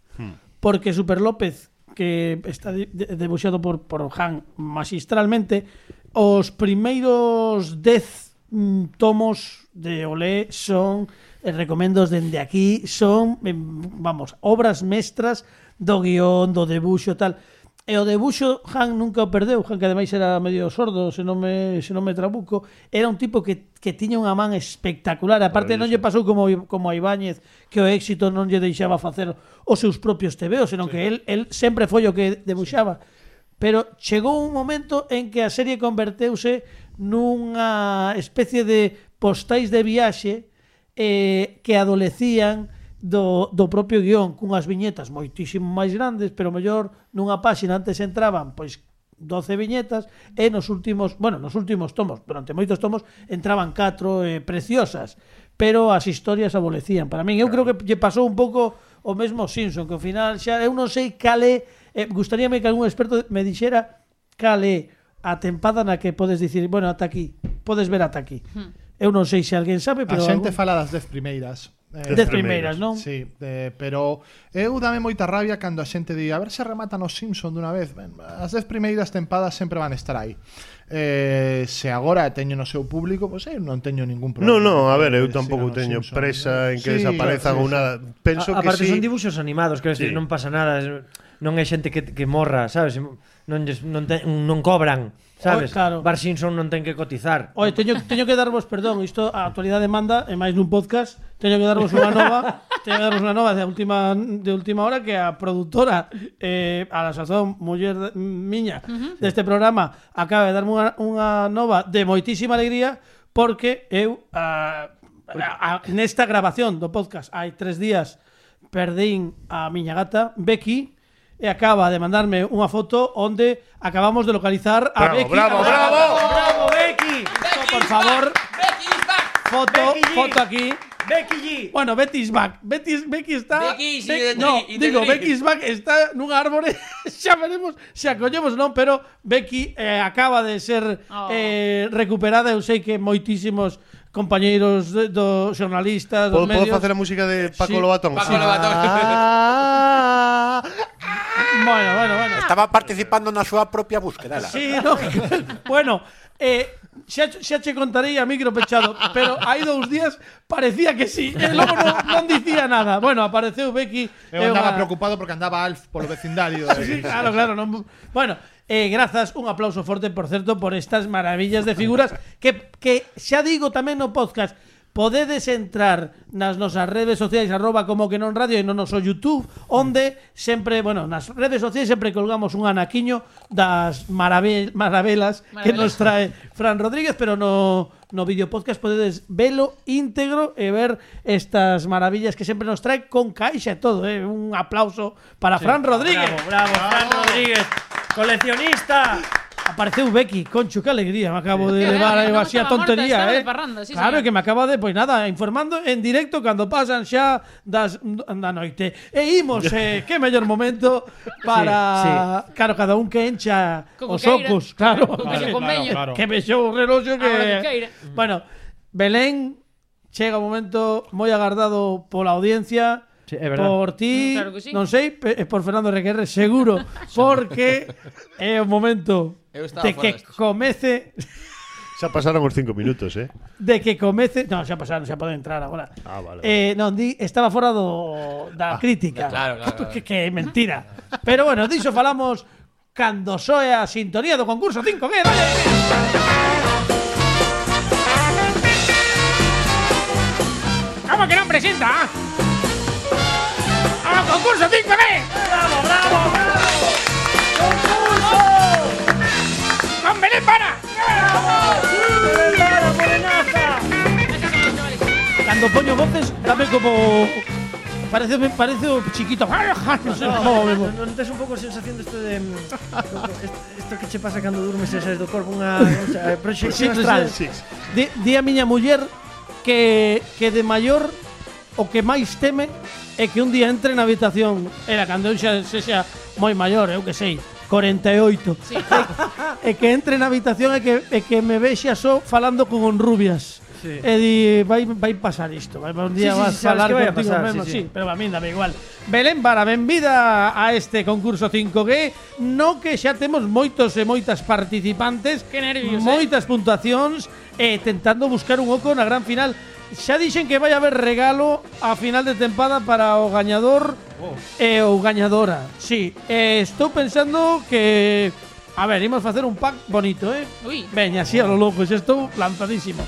Porque Super López, que está de- de- debuxado por, por Han magistralmente, os primeiros 10 mm, tomos de Olé son, eh, recomendos dende aquí, son, em, vamos, obras mestras do guión, do debuxo, tal. E o debuxo Han nunca o perdeu, Han que ademais era medio sordo, se non me, se non me trabuco, era un tipo que, que tiña unha man espectacular, aparte non lle pasou como, como a Ibáñez, que o éxito non lle deixaba facer os seus propios tebeos, senón sí. que el, el sempre foi o que debuxaba. Pero chegou un momento en que a serie converteuse nunha especie de postais de viaxe eh, que adolecían do, do propio guión cunhas viñetas moitísimo máis grandes pero mellor nunha páxina antes entraban pois 12 viñetas e nos últimos, bueno, nos últimos tomos, durante moitos tomos entraban catro eh, preciosas, pero as historias abolecían. Para min eu creo que lle pasou un pouco o mesmo ao Simpson, que ao final xa eu non sei cale, eh, gustaríame que algún experto me dixera cale a tempada na que podes dicir, bueno, ata aquí, podes ver ata aquí.
Hmm.
Eu non sei se alguén sabe,
A
pero
xente
algún...
fala das dez primeiras. Eh,
Dez primeiras, non?
Sí, eh, pero eu dame moita rabia cando a xente di a ver se rematan os Simpson dunha vez. Ben, as dez primeiras tempadas sempre van estar aí. Eh, se agora teño no seu público, pois eu non teño ningún problema.
No, no, a ver,
Eh,
eu
sigan
tampouco
os
teño
Simpson.
presa en que
Sí, sí,
desaparezan ou
sí.
nada. Ah, Penso
A-
que
aparte
sí.
son dibuxos animados, quero
Sí.
decir, non pasa nada, es- non hai xente que, que morra, sabes? Non lles- non, te, non cobran, sabes?
Oh, claro.
Bar Simpson non ten que cotizar.
Oye, teño, teño que darvos, perdón, isto a actualidade manda, e máis nun podcast, teño que darvos unha nova, teño que darvos unha nova de última de última hora que a produtora eh, a la sazón muller de- miña deste programa acaba de darme unha, unha nova de moitísima alegría porque eu a, a, a, nesta grabación do podcast hai tres días perdín a miña gata Becky e acaba de mandarme unha foto onde acabamos de localizar a
Bravo,
Becky
bravo, bravo.
Bravo, Oh, Becky.
Por favor,
Becky is back.
foto,
Becky G.
foto aquí.
Becky G.
Bueno, Betty is back. Betty, is- Becky está...
Becky, sí,
Be-
de-
no,
y de-
digo,
de-
Becky is back está nunha árbore. xa veremos se acollemos non, pero Becky eh, acaba de ser
Oh.
eh, recuperada. Eu sei que moitísimos compañeiros de- do xornalistas, dos
Podo, podo
medios...
facer a música de
Sí.
Paco Lobatón?
Paco
Sí.
Lobatón.
Ah, Bueno, bueno, bueno.
Estaba participando na súa propia búsqueda. ela.
Sí, no, bueno, eh, xa, xa che contarei a micro pechado, pero hai dous días parecía que sí, e logo non, non dicía nada. Bueno, apareceu Becky.
Eu
é
andaba
unha-
preocupado porque andaba Alf polo vecindario. eh.
Sí, claro, claro. non- Bueno, eh, grazas, un aplauso forte, por certo, por estas maravillas de figuras que, que xa digo tamén no podcast, podedes entrar nas nosas redes sociais arroba como que non radio e no noso YouTube onde sempre, bueno, nas redes sociais sempre colgamos un anaquiño das maravel, maravelas que
Maravelas.
nos trae Fran Rodríguez, pero no no vídeo podcast podedes velo íntegro e ver estas maravillas que sempre nos trae con caixa e todo, eh? un aplauso para Fran Rodríguez.
Bravo, bravo, Fran Rodríguez. Coleccionista.
Apareceu Becky, concho, que alegría Me acabo de
Qué
levar aí
grande, non
así a
estaba morta,
tontería
estaba
eh.
de parranda, sí,
Claro
señor.
que me acaba de, pois nada Informando en directo cando pasan xa das da noite E imos, eh, que mellor momento Para, claro, cada un que encha
Como
Os
queira.
ocos, claro
Como que
que-
se conveño.
claro.
Que me xou o reloxo que... Mm.
Ahora que queira.
Bueno, Belén Chega un momento moi agardado pola audiencia
Sí, é verdad.
Por ti,
Mm, claro que sí.
non sei, pe- por Fernando Requerre, seguro, porque é o momento
Eu estaba
de
fora
que
destes.
comece
Xa pasaron os cinco minutos, eh?
de que comece, non, xa pasaron, xa pode entrar agora.
Ah, vale, vale.
Eh, non, di, estaba fora do da crítica.
claro, claro, claro.
Que, que é mentira. Pero bueno, diso falamos cando soe a sintonía do concurso 5G, dale.
¿Cómo que no presenta? ¡A concurso 5B! ¡Bravo, bravo, bravo! ¡Concurso! ¡Con Belén Para!
Cando poño voces, dame como Parece, parece o chiquito. Non sei como me mo-
No, non tes un pouco a sensación deste de mm, est- isto que che pasa cando durmes e saes do corpo unha como se- eh, proxección
Sí, sí,
astral.
sí. Di, di a miña muller que, que de maior o que máis teme é que un día entre na habitación era cando eu xa sexa moi maior, eu que sei, 48.
Sí.
E que entre na habitación e que, e que me vexa só falando con rubias.
Sí.
E di, vai, vai pasar isto, vai, un día
Sí, sí,
vas
sí, sabes
falar
que vai a
contigo
pasar,
mesmo,
sí,
sí,
sí.
pero a mí dame igual. Belén Vara, benvida a este concurso 5G, no que xa temos moitos e moitas participantes,
Que nervios, eh?
moitas puntuacións, e tentando buscar un oco na gran final. Xa dixen que vai haber regalo a final de tempada para o gañador
Oh.
e o gañadora. Sí, e estou pensando que a ver, imos facer un pack bonito, eh?
Ui.
Veña, así a lo loco, xa estou lanzadísimo.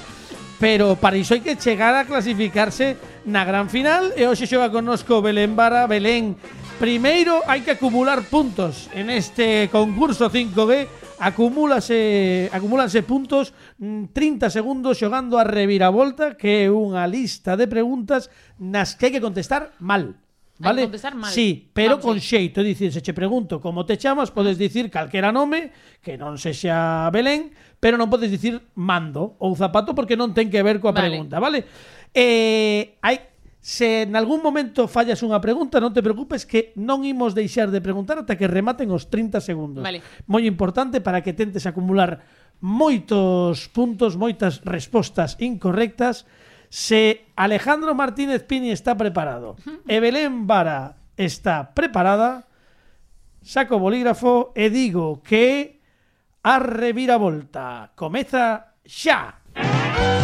Pero para iso hai que chegar a clasificarse na gran final e hoxe xoga connosco Belén Vara, Belén. Primeiro hai que acumular puntos en este concurso 5G. Acumúlase, acumúlanse puntos mm, 30 segundos xogando a reviravolta que é unha lista de preguntas nas que hai que contestar mal.
Hai
Vale?
que contestar mal.
Sí, pero
Vamos,
con
sí.
xeito, dicir, se che pregunto como te chamas, podes dicir calquera nome, que non sexa Belén, pero non podes dicir mando ou zapato porque non ten que ver coa
Vale.
pregunta, vale? Eh, hai se en algún momento fallas unha pregunta, non te preocupes que non imos deixar de preguntar ata que rematen os 30 segundos.
Vale.
Moi importante para que tentes acumular moitos puntos, moitas respostas incorrectas. Se Alejandro Martínez Pini está preparado, e Belén Vara está preparada, saco o bolígrafo e digo que a reviravolta comeza xa.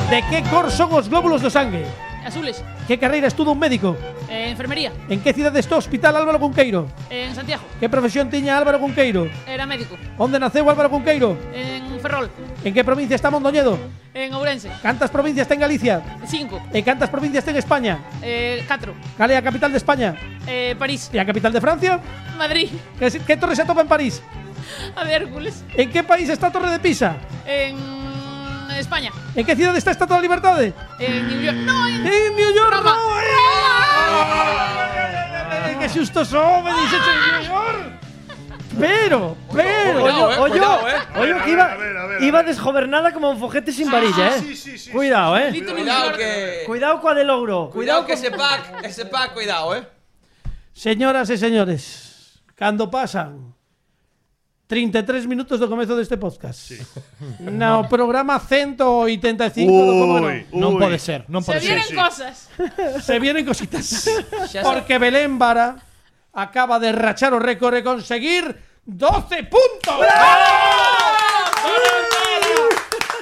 De que cor son os glóbulos do sangue?
Azules.
Que carreira estuda un médico?
Eh, enfermería.
En que cidade está o hospital Álvaro Cunqueiro?
En Santiago.
Que profesión tiña Álvaro Cunqueiro?
Era médico.
Onde naceu Álvaro Cunqueiro?
En Ferrol.
En que provincia está Mondoñedo?
En Ourense.
Cantas provincias ten Galicia?
Cinco.
E cantas provincias ten España?
Eh, catro.
Cal é a capital de España?
Eh, París.
E a capital de Francia?
Madrid.
Que, se- que torre se atopa en París?
A de Hércules.
En que país está a Torre de Pisa?
En España.
En que cidade está a Estatua da Libertade?
En New York. No, en
En New York
Roma.
no, eh. Eh, Que susto son, me dice en New York. Pero, pero,
Cuidado,
Ollo,
eh,
ollo,
cuidado, eh.
ollo que
A
iba,
ver, a ver, a
iba
ver.
desgobernada como un fojete sin varilla, eh. Cuidado, eh.
Little New
Cuidado
York.
que.
Cuidado coa de logro.
Cuidado que ese pack, ese pack, cuidado, eh.
Señoras e señores, cando pasan 33 e minutos do comezo deste podcast. No programa 185 do Como
Ui,
No
Non.
ui.
puede ser, no
Se
puede ser.
vienen
sí.
cosas.
Se vienen cositas.
se-
Porque Belén Vara acaba de rachar o récord e conseguir 12 puntos.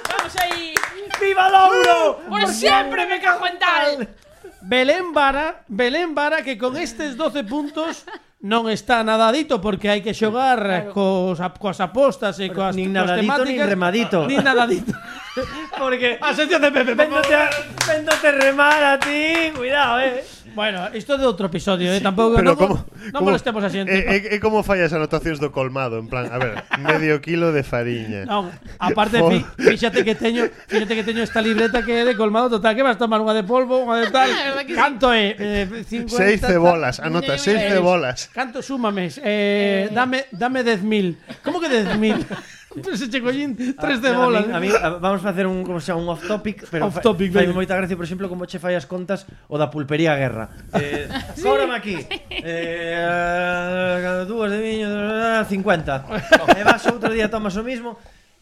Vamos ahí.
¡Viva Lauro!
Por siempre me cago en tal.
Belén Vara, Belén Vara que con estes 12 puntos non está nadadito porque hai que xogar cos, ap- coas apostas e coas,
nin
coas
nadadito,
temáticas.
nin remadito.
Nin nadadito.
Porque
A sección de Pepe. por favor.
véndote, a, véndote remar a ti, cuidado, eh.
Bueno, isto é de outro episodio, eh? tampouco non,
Pero eh, como,
non
como-
molestemos a xente.
É, é, é como falla as anotacións do colmado, en plan, a ver, medio kilo de fariña.
Non, aparte
Por-
fi, fíxate que teño, fíxate que teño esta libreta que é de colmado total, que vas tomar unha de polvo, unha de tal.
Ah, verdad que sí.
Canto é? Eh, 50,
seis
tal.
cebolas, anota
Ni
seis
idea.
cebolas.
Canto súmame, eh, dame dame 10.000. Como que 10.000? Pero se checollín, tres de
Ah,
bola.
A mí, a mí, a- vamos facer un como sea un off topic, pero
Off topic,
fa, fai
veña.
moita gracia, por exemplo, como che fai as contas o da pulpería a guerra. Eh, cóbrame aquí. Eh, dúas de viño, eh, 50. E vas outro día tomas o mismo.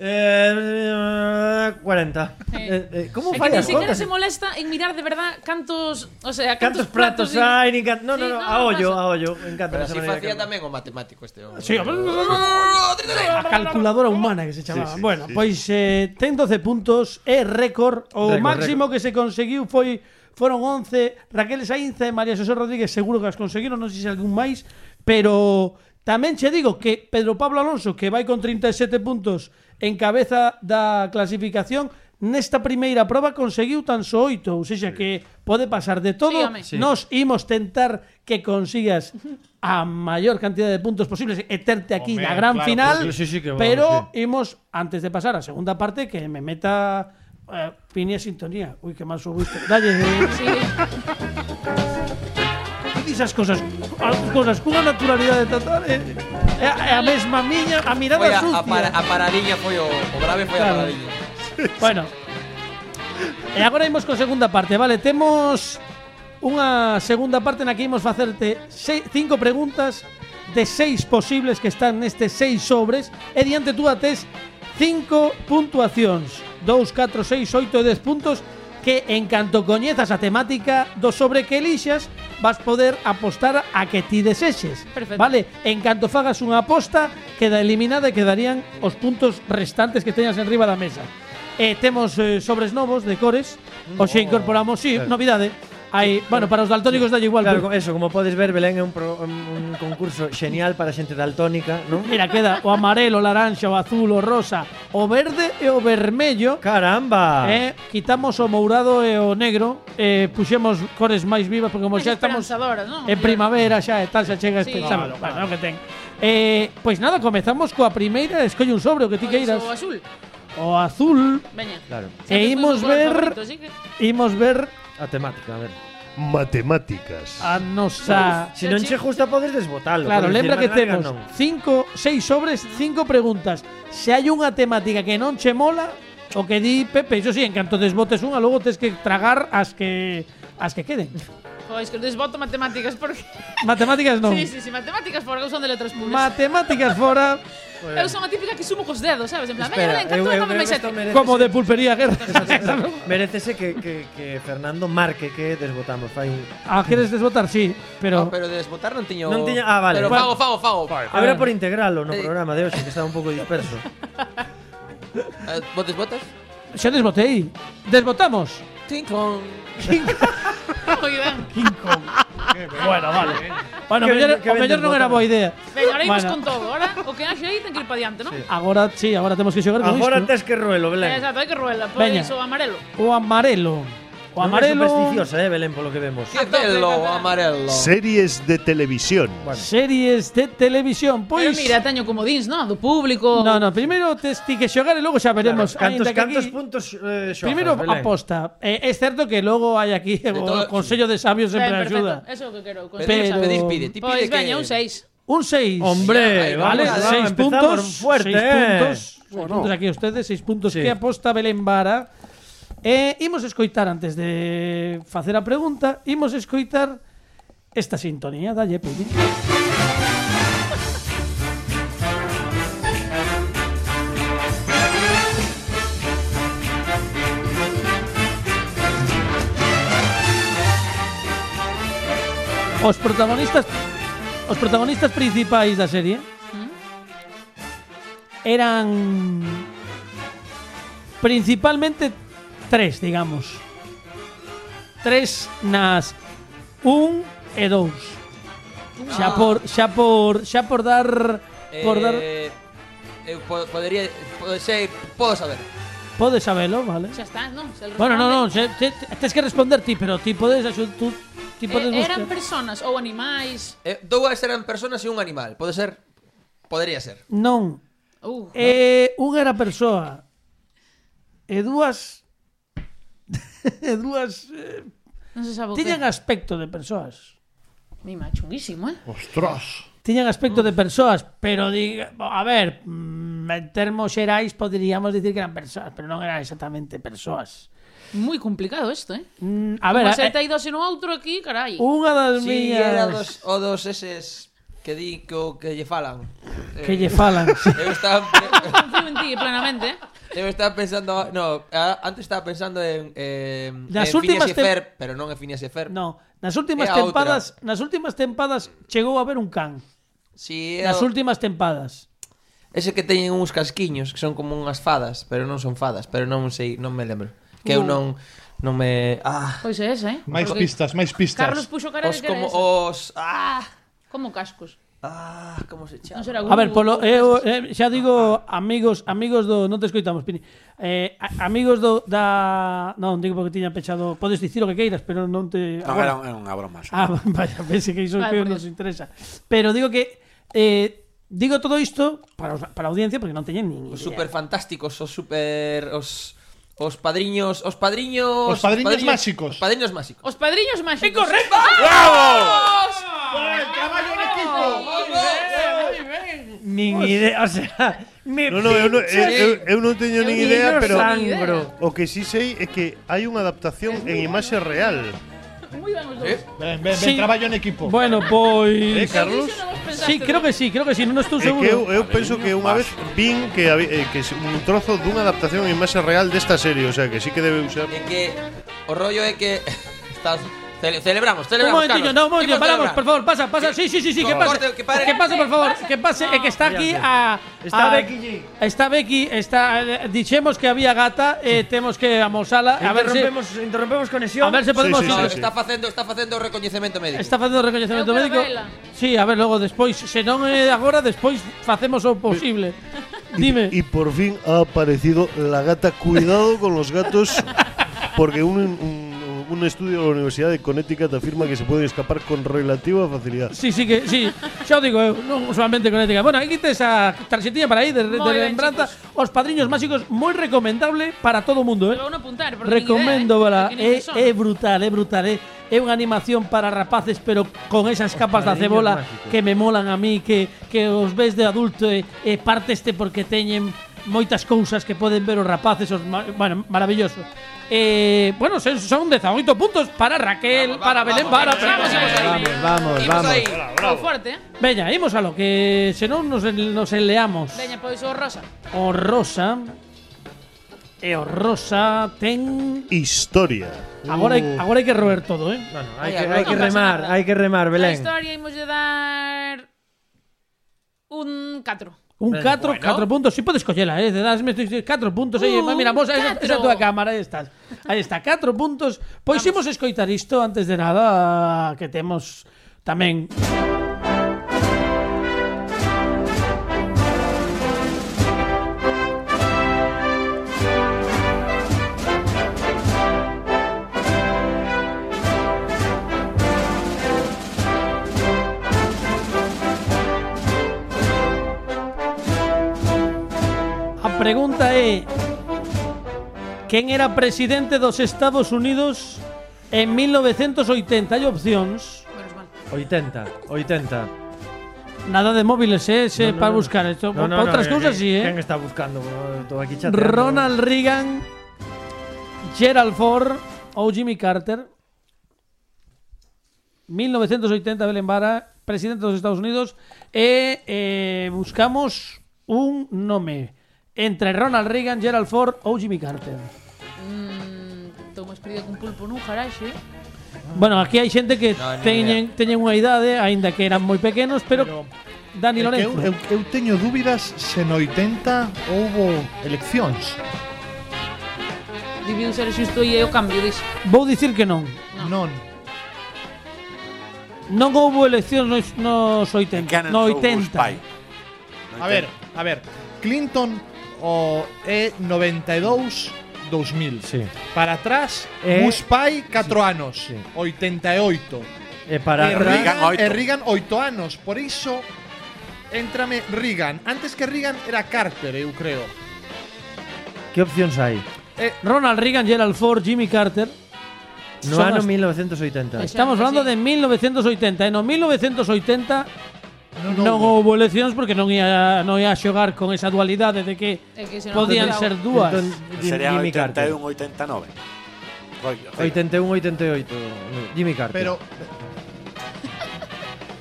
Eh, 40.
Sí.
Eh, eh, como
É que
fai
ni
as
siquiera
contas?
se molesta en mirar de verdad cantos, o sea, cantos,
Cantos pratos
y-
hai, ni can... No,
Sí,
no,
no,
no, a
no
ollo,
pasa.
a ollo, me encanta
Pero
esa
así
maneira de
facía
calcular.
tamén o matemático este hombre.
Sí, a calculadora humana que se chamaba.
Sí, sí,
bueno,
sí.
pois eh, ten 12 puntos, é récord. O
Récord,
máximo que se conseguiu foi foron 11. Raquel Sainz e María José Rodríguez seguro que as conseguiron, non sei se algún máis, pero tamén che digo que Pedro Pablo Alonso, que vai con 37 puntos en cabeza da clasificación, nesta primeira proba conseguiu tan só 8, ou seja que pode pasar de todo.
Sígame.
Sí.
Nos imos tentar que consigas a maior cantidad de puntos posibles e terte aquí
Home,
na gran
claro,
final,
pues sí, sí que vamos,
pero imos antes de pasar a segunda parte que me meta eh, Pini a sintonía. Uy, que mal este subiste. Dalle.
Sí.
Dis as cousas, as cousas cunha naturalidade total. Eh, é, é a mesma miña, a mirada
Foi a,
sucia.
a, para, a paradiña foi o, o grave foi
Claro.
a paradiña.
Bueno. E agora imos con segunda parte, vale? Temos unha segunda parte na que imos facerte sei, cinco preguntas de seis posibles que están nestes seis sobres e diante tú ates cinco puntuacións. 2, 4, 6, 8 e 10 puntos que en canto coñezas a temática do sobre que elixas vas poder apostar a que ti desexes.
Perfecto.
Vale, en canto fagas unha aposta queda eliminada e quedarían os puntos restantes que teñas en riba da mesa. E temos eh, sobres novos de cores, hoxe incorporamos, si, sí, novidade. Hai, bueno, para os daltónicos dalle igual.
Claro,
pero-
eso, como podes ver, Belén é un, pro, un un concurso genial para xente daltónica, non?
Mira, queda o amarelo, o laranxa, o azul, o rosa, o verde e o vermello.
Caramba.
Eh, quitamos o mourado e o negro, eh, puxemos cores máis vivas porque como
Como
xa estamos
esperanzadoras, ¿no?
En primavera xa e tal, xa chega
Sí.
este examen. Bueno, o que ten. Eh, pois nada, comezamos coa primeira, escolle un sobre o que ti
Pois,
queiras.
O azul.
O azul,
Veña.
Claro,
Xa que
E imos
foi o color
ver-
favorito, así que-
imos ver
a temática, a ver.
Matemáticas.
a nosa
Se non che gusta podes desbotalo.
Claro,
podes
lembra que
decir, "Madre
temos
mía, non".
cinco, seis sobres, cinco preguntas. Se hai unha temática que non che mola, o que di Pepe, iso sí, en canto desbotes unha, logo tes que tragar as que as que queden.
Pois que desboto matemáticas porque
Matemáticas non.
Sí, sí, sí, matemáticas porque eu son de letras puras.
Matemáticas fora,
eu son a típica que sumo cos dedos, sabes? En plan, veña, Belén,
Espera, eu-
cantou
eu
dame
creo
máis
que isto
sete.
merece-
como de pulpería guerra.
Merecese que, que, que Fernando marque que desbotamos. Fai un...
ah, queres desbotar? Sí,
Pero, ah,
pero
pero de desbotar non tiño...
Non tiña- ah, vale.
Pero
Bueno.
fago, fago, fago.
Habrá por integralo no
Eh.
programa de hoxe que está un pouco disperso.
Eh, Vos desbotas?
xa desbotei. Desbotamos.
Ting con...
Moi ben.
Bueno, vale. Bueno, o
Ah, Que
mellor,
ben- que
o
ben
mellor non era
desbotado.
boa idea.
Veña, ahora imos
Bueno.
con todo. Ahora o que naxe aí ten que ir para diante, non?
Agora, sí, agora temos que xogar con isto.
Agora tes que ruelo,
Eh,
Belén.
Exacto, hai que roela.
Veña.
Pois o amarelo.
O amarelo. O
Non é
amarelo.
supersticiosa, eh, Belén, polo que vemos.
Que belo amarelo.
Series de televisión.
Series de televisión. Pois.
Pero mira, teño comodins, non? Do público.
No, no, primeiro tes ti que xogar e logo xa veremos.
Claro, cantos,
Ainda que
cantos
aquí-
puntos eh, xojas,
Primeiro
Belén?
aposta. Eh, é certo que logo hai aquí o
todo-
Consello de Sabios
Ben,
sempre
perfecto.
axuda.
Eso é o que quero. con
Pero-
Pedir, pedir, pide. Ti pide que...
Pois veña, un 6.
Un 6.
Ahí
Hombre,
va,
Vale,
vamos,
vamos, vamos,
seis
empezamos
puntos.
fuerte,
seis
eh.
puntos. seis puntos aquí a ustedes, seis puntos
Sí.
que aposta Belén Vara. Eh, imos escoitar antes de facer a pregunta, imos escoitar esta sintonía, dalle, Piñi. Os protagonistas Os protagonistas principais da serie eran principalmente tres, digamos. Tres nas un e dous.
Ah.
Xa por xa por xa por dar por dar
Eh, eu po podería... Pode, sei, podo saber.
podes sabelo, vale?
Xa está, non? Se el
Bueno, no, no,
responde.
se, te, te- tes que responder ti, pero ti podes axu- tú ti podes
Eh, eran
buscar.
personas ou animais.
Eh, dúas eran personas e un animal. Pode ser... Podería ser.
Non,
Uh,
Eh, E unha era persoa. E dúas e dúas eh,
non se sabe o que.
tiñan aspecto de persoas.
Mima, chunguísimo, eh?
Ostras.
Tiñan aspecto de persoas, pero diga, a ver, mm, en termos xerais poderíamos dicir que eran persoas, pero non eran exactamente persoas.
Moi complicado isto, eh?
Mm, a ver, a,
Pero,
Uh.
Mas eh, no outro aquí, carai.
unha das
Sí,
miñas
era dos, o dos eses que di que, o que lle falan. Eh,
que lle falan. sí.
Eu estaba, pre-
Confío en ti plenamente, eh?
eu estaba pensando... No, a- antes estaba pensando en... Eh,
Das
en
últimas
Phineas e
tem-
Ferb, pero non en Phineas e Ferb.
No, nas últimas
Era outra.
tempadas, nas últimas tempadas chegou a ver un can.
Sí, é
Nas
o-
últimas tempadas.
Ese que teñen uns casquiños que son como unhas fadas, pero non son fadas, pero non sei, non me lembro. Que eu non non me ah,
Pois é esa, eh?
Máis
Porque
pistas, máis pistas.
Carlos puxo cara de
os
que era
como os
esa.
ah,
Como cascos.
ah, como se chama?
Non será
A ver,
Google.
polo, eu, eh, xa digo amigos, amigos do, non te escoitamos, Pini. Eh, a- amigos do da, non digo porque tiña pechado, podes dicir o que queiras, pero non te
No,
agora.
era, un- era unha broma. sí.
Ah, vaya, pensei que iso
Vale,
que
por
nos
Dios.
interesa. Pero digo que eh, digo todo isto para, os- para a audiencia porque non teñen nin idea.
Os super fantásticos, os super os os padriños, os
Os
padriños,
padriños máxicos.
Os padriños máxicos.
Os padriños ¡Ah! máxicos. É correcto.
Oh!
Nin idea, o sea, me
No, eh, no, eu, non- eu, eu, eu non teño nin
Eu
idea,
non
pero
sangro.
o que sí sei é que hai unha adaptación en imaxe real.
Moi ben os dous.
Eh,
Ben, ben, ben,
Sí.
traballo en equipo.
Bueno,
Eh,
pois
Carlos?
Iso non vos pensaste,
Sí, creo
non?
que sí, creo que sí, non estou
É que eu,
seguro.
eu penso que unha vez vin que, habi- eh, que es un trozo dunha adaptación en imaxe real desta serie, o sea, que sí que debe usar.
É que o rollo é que estás cele-
Un
celebramos, celebramos.
momentiño, no,
Carlos.
un momentiño,
Imos
paramos,
celebrar.
por favor, pasa, pasa. Sí, sí, sí, sí, que pase.
Corte, que pare.
Que pase, por favor, que pase, é que está aquí a
Está
a-
Becky G.
Está Becky, está eh, dixemos que había gata, eh, temos que amosala, a ver se
interrompemos, interrompemos conexión.
a ver se podemos
Sí,
No,
sí, sí.
está facendo, está facendo o recoñecemento médico.
Está facendo recoñecemento
Eu quero
médico.
vela.
Sí, a ver, logo despois, se non é agora, despois facemos o posible. Dime.
Y por fin ha aparecido la gata. Cuidado con los gatos, porque un, un- un estudio de la Universidad de Connecticut afirma que se pueden escapar con relativa facilidad.
Sí, sí que sí. Xa o digo eu, non solamente con ética. Bueno, aquí tes a tarxetiña para aí de, de
Moi ben,
lembranza, os padriños máxicos, moi recomendable para todo o mundo, eh.
Pero ¿eh? vou apuntar, porque
¿eh?
Recomendo,
vala.
vela, é, é eh, brutal, é brutal, é, é unha animación para rapaces, pero con esas capas da
padriños
cebola
máxicos.
que me molan a mí, que, que os ves de adulto e, e parteste porque teñen moitas cousas que poden ver os rapaces, os ma, bueno, maravilloso. Eh, bueno, son, son 18 puntos para Raquel,
Vamos,
para
vamos,
Belén, para...
vamos, vamos, vamos,
Vamos, vamos,
Imos
vamos.
aí.
Bravo. fuerte, eh?
Veña, imos a lo que senón nos, en- nos enleamos.
Veña, pois o pues, oh, rosa.
O rosa... E o rosa ten...
Historia.
Agora, hai- agora hai que roer todo, eh?
Bueno, hay,
Oye,
que,
no
hay que
pasa
remar,
nada.
hay que remar,
A
Belén.
historia imos de dar un 4.
Un
Bueno, Uh,
4,
bueno.
4 puntos, si podes collela, eh, dadasme 4 puntos aí,
Un
mira, vos, eh, esa,
catro.
esa tua cámara, aí estás. Aí está, 4 puntos. Pois imos escoitar isto antes de nada que temos tamén a pregunta é quen era presidente dos Estados Unidos en 1980? Hai opcións.
Menos mal.
80, 80.
Nada de móviles, eh, se
No, no,
para
no.
buscar isto,
No, no,
para
no,
outras
que-
cousas
que-
sí, eh.
¿Quién está buscando? Bueno, Todo aquí chateando.
Ronald Reagan, Gerald Ford ou Jimmy Carter. 1980, Belén Vara, presidente dos Estados Unidos. E eh, buscamos un nome entre Ronald Reagan, Gerald Ford ou Jimmy Carter.
Mm, Estou máis perdido cun pulpo nun jaraxe. eh?
Bueno, aquí hai xente que
No, ni
teñen, teñen unha idade, aínda eh, que eran moi pequenos, pero... Dani
É que eu,
Lorenzo.
eu, eu teño dúbidas se no 80 houbo eleccións.
Debiu ser xusto e eu cambio disso.
Vou dicir que non.
Non.
Non houbo eleccións nos, nos 80.
Buchanan
No
ou Bush
80.
Pai.
A ver, a ver. Clinton o E é 92 2000.
Sí.
Para atrás,
Eh,
Bush pai 4 anos,
sí.
88.
Eh, para
e
atrás.
Reagan,
Reagan, oito.
e Reagan 8 anos, por iso entrame Reagan. Antes que Reagan era Carter, eu creo.
¿Qué opciones hay?
Ronald Reagan, Gerald Ford, Jimmy Carter.
No
Son
ano
as-
1980.
Es-
Estamos
Xa,
hablando
sí.
de 1980. En 1980 non houbo eleccións porque non ia non ia xogar con esa dualidade de que
É que se non
podían
acertaba.
ser dúas.
Entón,
Sería
Jimmy Carter.
81-89.
81-88. Jimmy Carter.
Pero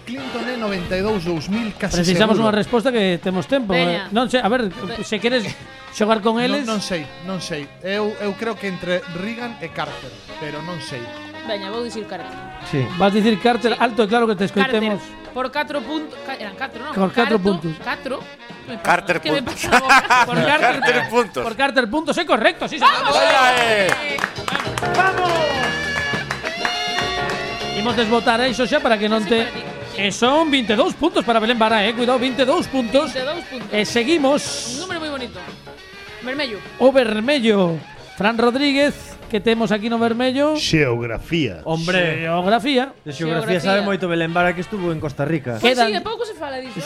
Clinton é 92 2000 casi
Precisamos
seguro.
unha resposta que temos tempo. eh.
Veña.
Non sei, a ver, se queres xogar con eles,
Non, non sei, non sei. Eu, eu creo que entre Reagan e Carter, pero non sei.
Veña, vou dicir Carter.
Sí.
vas dicir Carter alto e claro que te
Carter,
escoitemos.
por 4 puntos. Eran 4, ¿no?
Por catro
Carto-
puntos.
Catro.
Carter
¿Qué me
puntos.
pasa? la boca? Por Carter.
Carter puntos.
Por Carter puntos, é correcto, sí, señor.
¡Oye, eh!
Imos desbotar iso xa para que non te...
Sí, para ti.
E son 22 puntos para Belén Bará, eh? Cuidado, 22 puntos.
22 puntos.
E
Un
seguimos
número muy bonito. Vermello.
o vermello. Fran Rodríguez, que temos aquí no vermello.
Xeografía.
Hombre,
Geografía.
de xeografía sabe moito Belén Vara que estuvo en Costa Rica.
Pois
Quedan-
Pues sí, de pouco se fala disso.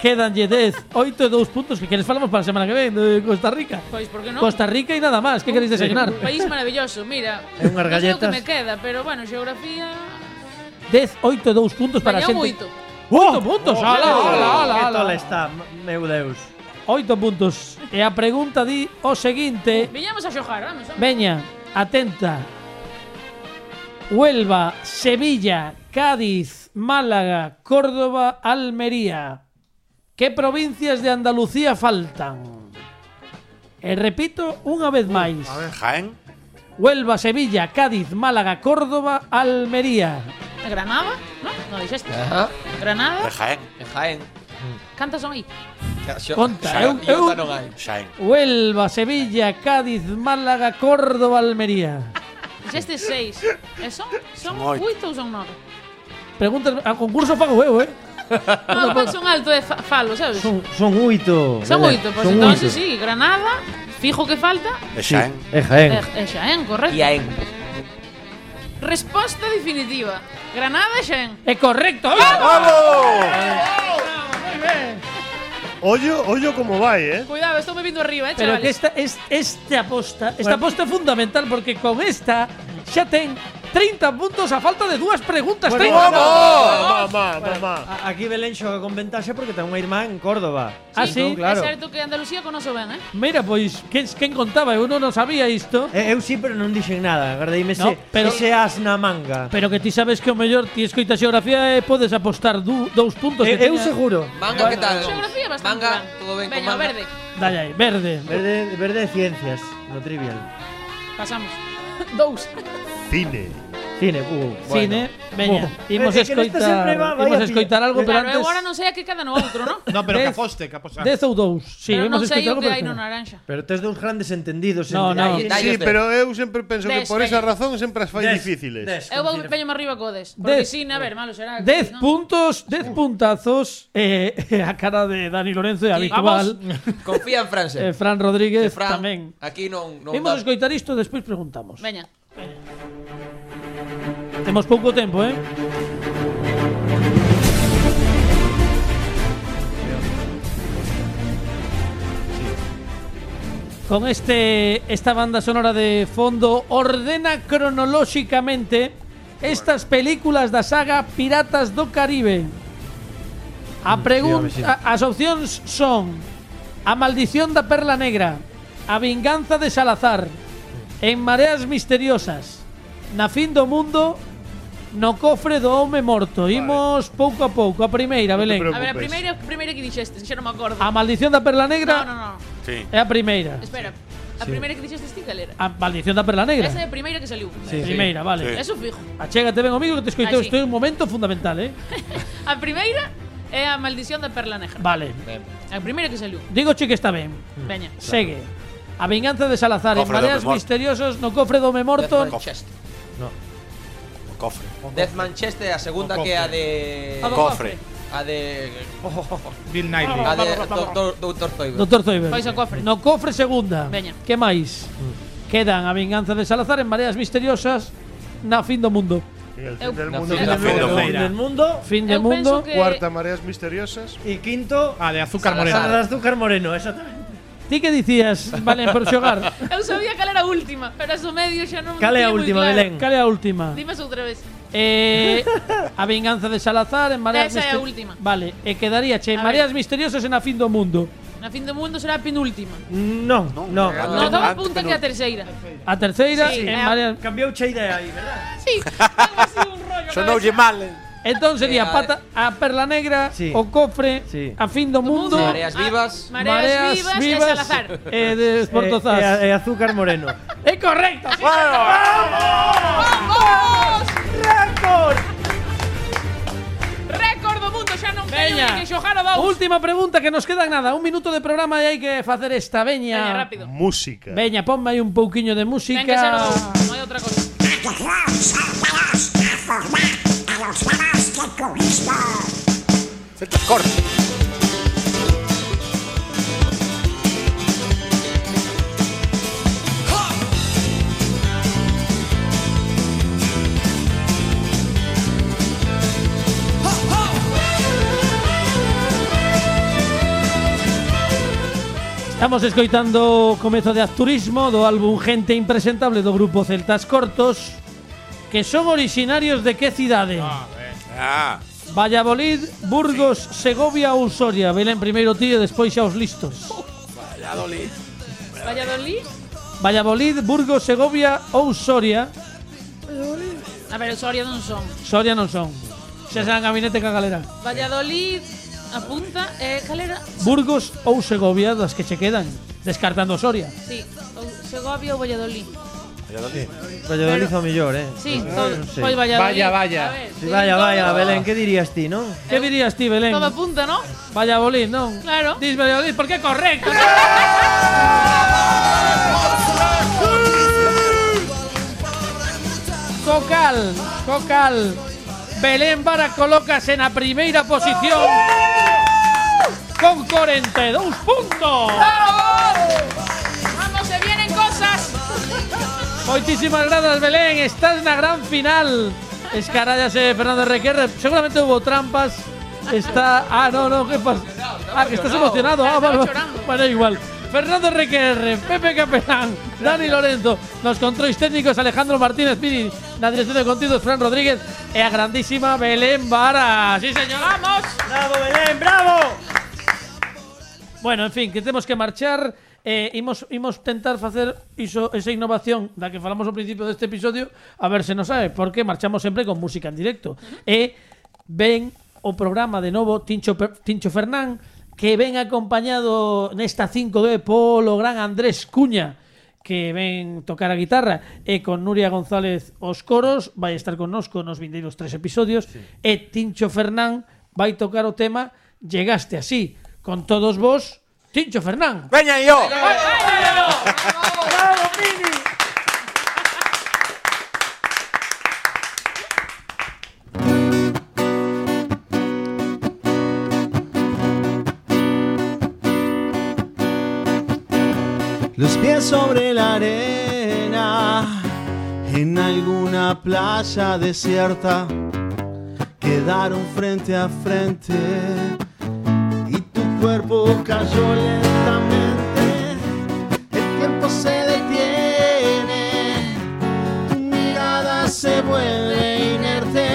Quedanlle 10, 8 e 2 puntos que queres falamos para a semana que ven de Costa Rica.
Pois, Pues, por que non?
Costa Rica e nada máis, que queréis desayunar?
Un país maravilloso, mira.
É unhas
Non sei o que
galletas.
me queda, pero bueno, xeografía...
10, 8 e 2 puntos para a
Mañá
xente.
moito.
8 puntos, ala, ala, ala,
Que
ala.
tola está, meu Deus.
8 puntos. E a pregunta di o seguinte.
Viñamos a xojar, vamos. vamos.
Veña, atenta. Huelva, Sevilla, Cádiz, Málaga, Córdoba, Almería. ¿Qué provincias de Andalucía faltan? E repito unha vez máis.
A ver, Jaén.
Huelva, Sevilla, Cádiz, Málaga, Córdoba, Almería.
Granada, ¿no? No dixeste.
Ajá.
De
Granada.
Jaén.
En Jaén.
Cantas son aí?
Ca- xo-
Conta,
xa-
eu- eu-
iota non hai.
Jaén.
Huelva, Sevilla, Cádiz, Málaga, Córdoba, Almería.
Dixeste seis. E son,
Son
son
oito.
oito ou son nove?
Preguntas a ah, concurso fago eu, eh?
Non, no, son alto de fa falo, sabes? Son,
Son, son oito. Belén,
oito, pois
son
entonces
oito.
sí, Granada, fijo que falta,
De
Sí,
Jaén.
Eh,
é Jaén.
e, e Xaén, correcto.
E Aén.
Resposta definitiva. Granada e Xaén.
É correcto. ¡eh! ¡Vamos!
Ollo, ollo como vai, eh?
Cuidado, estou me vindo arriba, eh,
Pero que
chavales.
esta, es- esta aposta, esta aposta é fundamental porque con esta xa ten 30 puntos a falta de dúas preguntas. 30.
Bueno,
Mamá, mamá, mamá.
A- Aquí Belén xoga con ventaxe porque ten unha irmá en Córdoba.
Ah, sí?
Entón, claro.
É certo que Andalucía conoce ben, eh?
Mira, pues, pois, quen, quen contaba? Eu non o sabía isto.
Eh, Eu sí, pero non dixen nada. Gardeime
No,
ese,
pero-
ese as na manga.
Pero que ti sabes que o mellor ti escoita xeografía e podes apostar du, dous puntos
Eh,
que
eu
teña-
seguro.
Manga, que tal?
Xeografía bastante
Manga,
ben.
todo ben con
Veña,
manga.
verde.
Dalle aí, verde.
Verde, verde de ciencias, no trivial.
Pasamos. Dous.
Cine.
Cine, uh, bueno.
Cine, veña, imos
Eh, que neste sempre
escoitar,
va- vai
imos
a
escoitar
pillar.
algo, pero
Claro, eu
antes
agora non sei a que cada no outro, non?
No, pero que
Dez-
aposte, que aposte.
Dez ou dous. Sí,
pero
imos
non
escoitar
sei o
algo,
que
pero
hai no
espera.
naranja.
Pero tes dous grandes entendidos.
No,
en-
no.
Aí-
Detalles
Sí,
de-
pero eu sempre penso que
Des,
por esa
veña.
razón sempre as fai
Des,
difíciles.
des,
Eu vou
con cine.
veño arriba co 10.
Dez.
Porque sin, a ver, malo será. que
Dez
non.
puntos, dez puntazos eh, a cara de Dani Lorenzo, é habitual.
Confía en Francia.
Eh, Fran Rodríguez
Fran,
tamén.
Aquí non, non
Vimos
dá-
escoitar isto, despois preguntamos.
Veña.
Temos pouco tempo, eh? Con este esta banda sonora de fondo ordena cronolóxicamente estas películas da saga Piratas do Caribe. A pregunta, as opcións son A maldición da perla negra, A vinganza de Salazar, En mareas misteriosas, Na fin do mundo, No cofre do home morto. Imos pouco a pouco, a primeira, Belén.
preocupes.
A ver, a primeira, primeira que dixeste, xa non me acordo.
A maldición da perla negra
No, no, no.
Sí.
é a primeira.
Espera. A primeira que dixeste ti cal era?
A maldición da perla negra.
Esa é a primeira que saliu.
Primeira, vale.
Sí.
Eso fijo.
Achégate ben, amigo, que te escoiteu.
Ah, sí.
Isto é un momento fundamental, eh?
A primeira é a maldición da perla negra.
Vale.
A primeira que saliu.
Digo che que está ben.
Veña.
Segue. A vinganza de Salazar, en
Mm. Cofre do home
mareas
morto.
misteriosas, no cofre do home morto,
Death Manchester.
O cofre.
Death Manchester, a segunda que é a de...
A do
Cofre.
A de...
Bill Nighy.
A de Doctor- Doctor Toiber.
Doctor Zoiber.
Pois o cofre.
No cofre segunda.
Veña.
Que máis?
Mm.
Quedan a vinganza de Salazar en mareas misteriosas na fin do mundo.
El
Eu-
fin del
No,
mundo.
fin del
Café
Fin
do
del
Meira.
mundo.
Fin de
Eu
mundo.
penso que
Cuarta, mareas misteriosas.
E quinto,
Ah, de azúcar
Sara de
morena.
azúcar moreno, exactamente.
Ti que dicías, Valen, por xogar?
eu sabía cal era a última, pero a su medio xa non
Cal é a
tiña moi
última,
claro.
Belén?
Cal é a última?
Dimas outra vez.
Eh, a vinganza de Salazar en Mareas
Esa é a
Mister-
última.
Vale, e quedaría che
A
Mareas Misteriosas en A Fin do Mundo.
Na fin do mundo será a penúltima.
Non, non.
No,
Ante-
dou a
ante-
punta que é a terceira.
A terceira en
Sí, é a-
Mareas
Cambiou che idea aí, verdad?
Sí, algo así un rollo.
Sonoulle
cabeza.
mal. eh.
Entón sería
Eh, a-
pata, a Perla Negra,
Sí.
o Cofre,
Sí.
a Fin do Mundo,
Mareas vivas.
Ah, Mareas, vivas, e Salazar.
e de Esportozás.
E, e, e Eh, azúcar moreno.
¡Es correcto! sí.
¡Vamos! ¡Récord! ¡Récord do mundo! Xa non teño
Veña.
ni que xogar
eh.
o dous.
Última pregunta que nos queda nada. Un minuto de programa e hai que facer esta veña.
Veña, rápido.
Música.
Veña, ponme aí un pouquiño de
Ten que ser
música.
o dous, non hai outra cosa.
Ciertos cortes.
Estamos escoitando o comezo de Acturismo do álbum Gente Impresentable do grupo Celtas Cortos, que son orixinarios de que cidade?
Ah,
Valladolid, Burgos, Segovia ou Soria. Velen primeiro ti e despois xa os listos.
Valladolid.
Valladolid, Burgos, Segovia ou Soria.
A ver, o Soria non son.
Soria non son. Xa xa gabinete ca galera.
Valladolid apunta. Eh, cal era?
Burgos ou Segovia das que che quedan, descartando Soria.
Sí, ou Segovia ou Valladolid.
Valladolid
Pero-
ao mellor, eh.
Sí,
Eh, non
todo,
sei.
pois Valladolid.
Vaya, vaya.
A ver,
Sí, vaya,
todo-
vaya, Belén, que dirías ti, non?
Que dirías ti, Belén?
Todo apunta, ¿no?
Valladolid, non?
Claro.
Dis Valladolid porque é correcto. Cocal, Cocal. Belén Vara colócase na primeira posición con 42 puntos.
Vamos, se vienen cosas.
Moitísimas grazas, Belén. Estás na gran final. Escarallase Fernando Requerre. Seguramente hubo trampas. Está. Ah, no, no, ¿qué pasa? Ah, que estás emocionado. Ah, vale, vale.
llorando.
Bueno, igual. Fernando Requerre, Pepe Capelán, Dani Lorenzo, los controles técnicos Alejandro Martínez Pini, la dirección de contidos Fran Rodríguez e a grandísima Belén Vara. Sí, señor. ¡Vamos!
Bravo, Belén, bravo.
Bueno, en fin, que temos que marchar eh, imos, imos tentar facer iso, esa innovación da que falamos ao principio deste episodio a ver se nos sabe, porque marchamos sempre con música en directo e ven o programa de novo Tincho, Per- Tincho Fernán que ven acompañado nesta 5D polo gran Andrés Cuña que ven tocar a guitarra e con Nuria González os coros vai estar connosco nos vindeiros tres episodios sí. e Tincho Fernán vai tocar o tema Llegaste así con todos vos Tincho Fernán
veña yo.
Los pies sobre la arena, en alguna playa desierta, quedaron frente a frente y tu cuerpo cayó lentamente. El tiempo se detiene, tu mirada se vuelve inerte.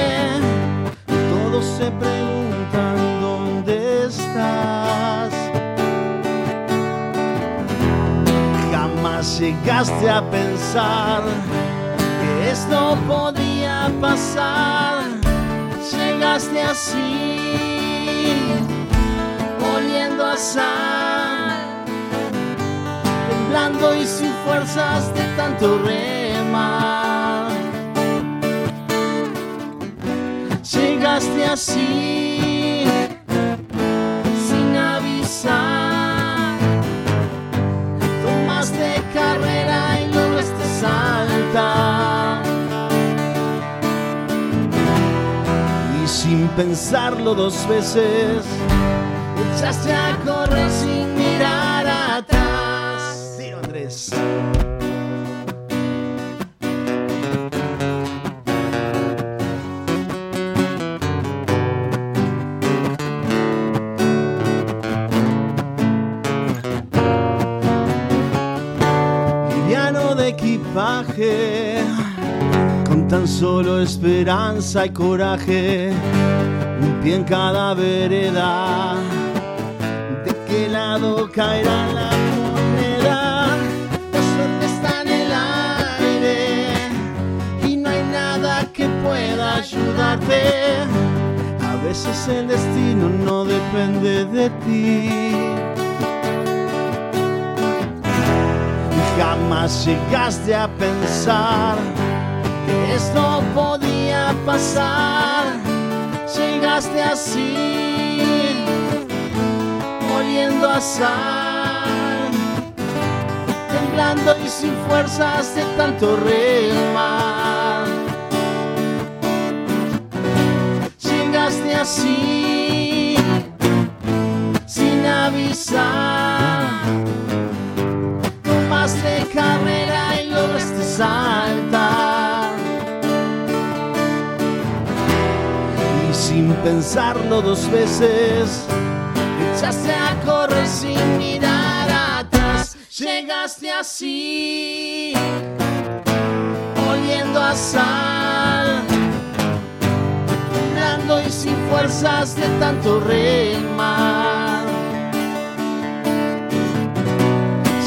Todos se preguntan dónde estás. Jamás llegaste a pensar que esto podía pasar. Llegaste así, oliendo a sal, temblando y sin fuerzas de tanto remar. Llegaste así, sin avisar tomaste carrera y lograste saltar. Y sin pensarlo dos veces, echaste a correr sin mirar atrás. Tiro Andrés. liviano de equipaje, con tan solo esperanza y coraje, un pie en cada vereda. ¿De qué lado caerá la moneda? La suerte está en el aire y no hay nada que pueda ayudarte. A veces el destino no depende de ti. jamás llegaste a pensar que esto podía pasar. Llegaste así, oliendo a sal, temblando y sin fuerzas de tanto remar. Llegaste así, sin avisar tomaste carrera y lograste saltar. Y sin pensarlo dos veces, echaste a correr sin mirar atrás. Llegaste así, oliendo a sal, blando y sin fuerzas de tanto remar.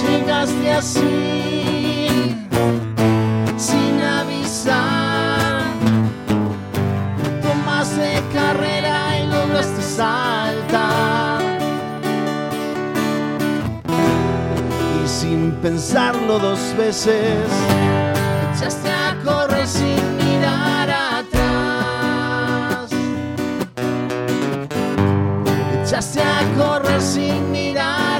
llegaste así, sin avisar. Tomaste carrera y lograste saltar. Y sin pensarlo dos veces, echaste a correr sin mirar atrás. Echaste a correr sin mirar